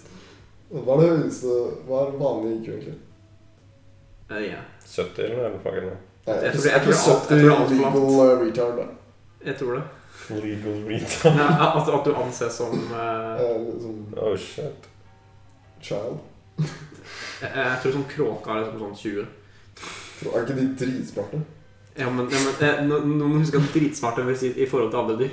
C: Hva er det høyeste Hva er vanlig IQ, egentlig?
B: Eh, ja.
A: 70 eller noe? er det faget nå?
C: Nei,
B: Jeg
C: jeg
B: tror-
C: tror
B: jeg tror alt- jeg tror alt for langt.
C: legal uh, retard. da.
B: Jeg tror det.
A: Legal
B: Nei,
A: retard.
B: altså, at, at du anses som eh,
C: Eh, Som
A: Oh shit.
C: child.
B: jeg, jeg tror sånn kråka er liksom sånn 20.
C: Tror- Er ikke de dritsmarte?
B: Ja, men, ja, men eh, no- Noen må huske at dritsmarte vil si i forhold til andre dyr.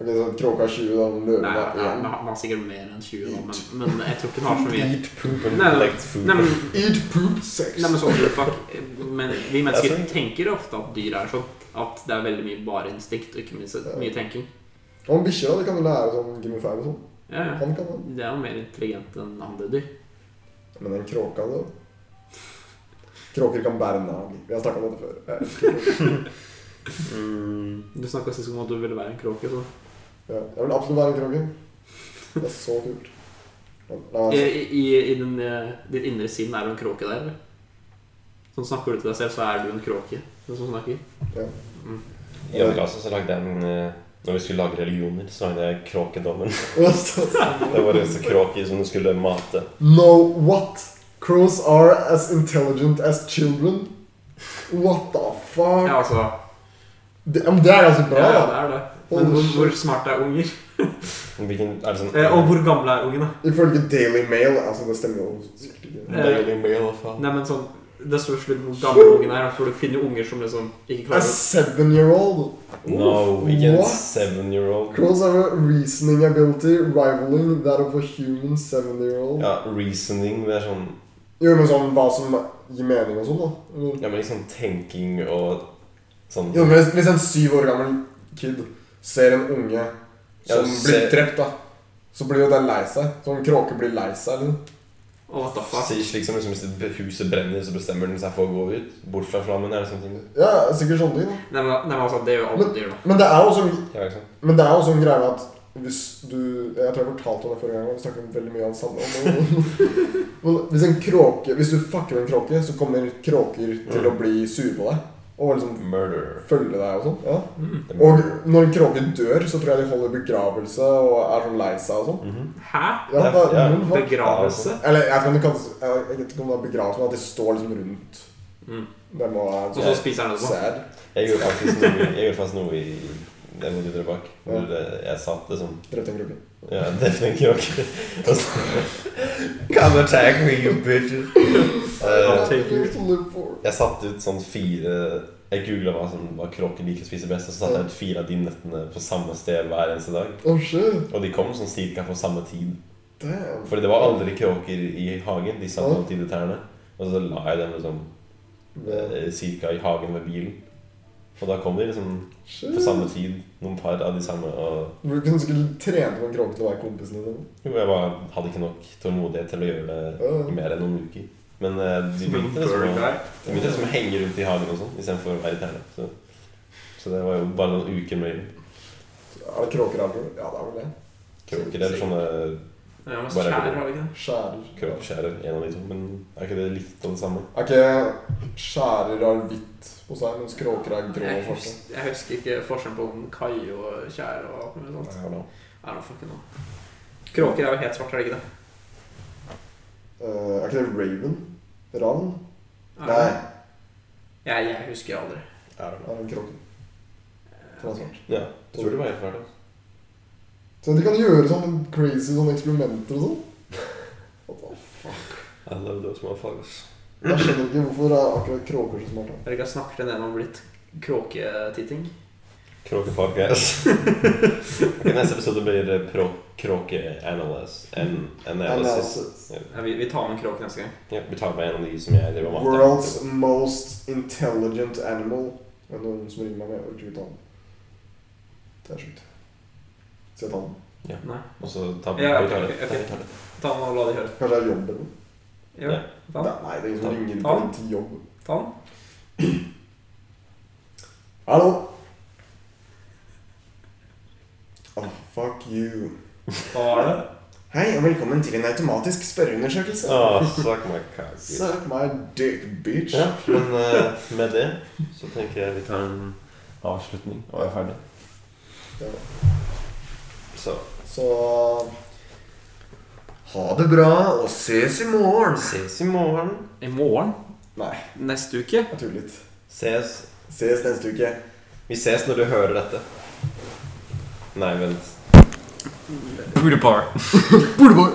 C: Ok, så Kråka er 20, da. men Løven
B: Nei,
C: er
B: ja,
C: 1.
B: men Han har sikkert mer enn 20, da, men, men jeg tror ikke han har så mye.
A: Eat poop and
B: Nei, nei.
A: collect food.
B: Nei, men
C: Eat poop sex.
B: Nei, men sånn tror jeg fuck. Men vi mennesker
A: Jeg tror-
B: tenker ofte at dyr er sånn. At det er veldig mye bare instinkt, og ikke minst mye tenking.
C: Og bikkjer da, de kan jo lære sånn Gimme five og sånn.
B: Ja, ja.
C: Han kan det.
B: Det er jo mer intelligent enn andre dyr.
C: Men den kråka, da Kråker kan bære nag. Vi har snakka om dette før. Jeg elsker kråker.
A: Mm.
B: Du snakka sist om at du ville være en kråke. Så.
C: Ja, jeg vil absolutt være en kråke. Det er så kult. La- la meg
B: I,
C: se.
B: i, i din, eh, ditt indre sinn er du en kråke der, eller? Sånn snakker du til deg selv, så er sånn du en kråke. Den som snakker.
C: Ja.
B: Mm.
A: I andre klasse altså, så lagde jeg en eh, Når vi skulle lage religioner, så lagde jeg kråkedommen.
C: Hva står det?
A: Det var disse kråker som du skulle mate.
C: No, what? Crows are as intelligent as children? What the fuck?
B: Ja, altså.
C: Det, ja, men det er ganske bra,
B: ja,
C: da.
B: det er det. Men
C: Holy
B: hvor,
C: shit.
B: hvor smart er unger?
A: Hvilken, er det sånn
B: Eh, og hvor gamle er ungene?
C: Ifølge Daily Mail Altså, det stemmer jo sikkert ikke.
A: Daily Mail, hva faen?
B: Nei, men sånn Det står slutt hvor gamle ungene er, for du finner jo unger som liksom ikke
C: A
B: klarer å
C: seven-year-old.
A: No, ikke en
C: What?
A: seven-year-old.
C: Crows have a reasoning ability rivaling that of a human seven-year-old.
A: Ja, reasoning. Det er sånn
C: Jo, men sånn hva som gir mening og sånn, da. Eller?
A: Ja, men liksom tenking og sånn
C: Jo, men hvis, hvis en syv år gammel kid ser en unge som
A: Ja,
C: blir
A: ser-
C: drept, da, så blir jo den lei seg. Sånn kråke blir lei seg, eller?
B: Å, what the fuck?
A: Sier slik som liksom, hvis huset brenner, så bestemmer den seg for å gå ut. Bort fra flammen eller sånne ting.
C: Ja, sikkert sånne ting. da.
B: Nei, men, nei, men altså, det gjør jo alle dyr, da.
C: Men det er jo også en
A: Ja, ikke sant?
C: Men det er jo også en greie med at hvis du Jeg tror jeg fortalte om det forrige gang. og Vi snakket veldig mye om samme om Men hvis en kråke Hvis du fucker med en kråke, så kommer kråker til å bli sure på deg. Og liksom
A: Murder.
C: følge deg og sånn. Ja.
B: Mm.
A: The
C: Og
A: murder.
C: når en kråke dør, så tror jeg de holder begravelse og er sånn lei seg og sånn.
A: Mhm.
B: Hæ?
C: Ja,
A: Det er-
C: da,
A: ja.
C: noen folk-
B: Begravelse?
C: Eller jeg vet ikke om det kalles Jeg vet ikke om det er begravelse, men at de står liksom rundt.
B: Mm.
C: Det må være
B: Og så spiser han etterpå.
C: sad.
A: Jeg gjorde faktisk noe, jeg gjorde faktisk noe i den du drar bak. Hvor eh, jeg satt liksom
C: Drepte en kråke.
A: Ja, det tenker jeg også. Og så- Come attack me, you bitches. Eh, jeg satte ut sånn fire Jeg googla hva som hva kråker liker å spise best, og så satte jeg ut fire av de nøttene på samme sted hver eneste dag.
C: Oh shit.
A: Og de kom sånn cirka på samme tid.
C: Damn.
A: Fordi det var aldri kråker i hagen. De satt mot de trærne. Og så la jeg dem liksom
C: Det-
A: eh, cirka i hagen ved bilen. Og da kom de liksom
C: Shit.
A: på samme tid, noen par av de samme. og...
C: Du kunne sikkert trene på en kråke til å være kompisen din.
A: Jo, jeg bare hadde ikke nok tålmodighet til å gjøre det i mer enn noen uker. Men eh, de begynte liksom, å- de begynte liksom å henge rundt i hagen og sånn, istedenfor å være i tærne. Så. så det var jo bare noen uker med
C: Er det kråker her, tror du? Ja, det er vel det.
A: kråker eller sånne
B: Ja, men
A: Bare-
B: skjær, har vi ikke det?
C: Skjærer.
A: kråkeskjærer, en av de to. Men er ikke det litt av det samme?
C: Er ikke skjærer har hvitt på seg, mens kråker er grå
B: Jeg
C: og svarte?
B: husker, jeg husker ikke forskjellen på den kai og tjære og alt mulig sånt.
A: Ja, da.
B: Er det fucking noe? Kråker er jo helt svarte, er det ikke det?
C: Eh, er ikke det raven? Ravn?
B: Er det
C: Nei,
B: det? Jeg, jeg husker aldri.
A: Ja, da.
C: det er en kråke. Den er svart.
A: Ja, jeg tror det var helt fælt.
C: Så de kan gjøre sånne crazy sånne eksperimenter og sånn. What the fuck?
A: I love those motherfuckers.
C: Jeg skjønner ikke hvorfor er akkurat kråker så smarte.
B: Jeg vet ikke, jeg snakker til en om blitt kråketitting.
A: Kråkepodcast. ok, neste episode blir det pro- kråkeanalyse. An analysis.
C: Analysis.
B: Ja, vi, vi tar med en kråk neste gang.
A: Ja, vi tar med en av de som jeg driver og mater.
C: World's most intelligent animal. Det er noen som ringer meg, men jeg orker ikke ta den. Det er sjukt. Skal jeg ta den?
B: Nei.
A: Og så tar vi,
B: Ja,
A: vi tar
B: ok,
A: det.
B: ok, ok.
A: Nei, vi tar det.
B: Ta den og la de høre.
C: Kanskje jeg har jobb eller noe?
B: Jo,
A: Ja.
B: ta den.
C: Nei, det er ingen som
A: Ta-
C: ringer
B: ta den.
C: på den til jobb.
B: Ta den.
C: Hallo? Oh, fuck you.
B: Hva var det?
C: Hei, og velkommen til en automatisk spørreundersøkelse.
A: Åh,
B: Ah,
A: Ah, suck my cock. bitch.
C: Suck my dick, bitch.
A: Ja, men eh, med det så tenker jeg vi tar en avslutning og er ferdig.
C: Ja.
A: Så
C: Så Ha det bra, og ses i morgen.
A: ses i morgen.
B: I morgen?
C: Nei,
B: Neste uke?
C: jeg tuller litt.
A: Ses
C: Ses neste uke.
A: Vi ses når du hører dette. Nei, vent.
B: Beauty pie.
C: Burde bare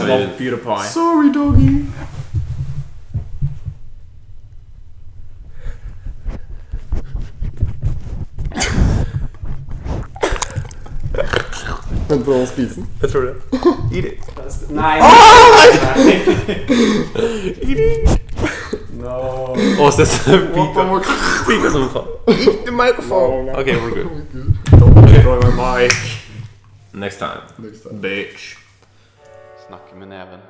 A: I love
B: beauty pie.
C: Sorry, doggy. Vent på å spise den.
A: Jeg tror det.
B: Nei. No.
A: Og ses
C: What the
A: pika.
C: fuck?
A: Pika som faen.
C: The microphone.
A: OK, we're good.
B: Destroy my mic,
A: Next time.
C: Next time.
B: bitch.
D: Snakke med neven.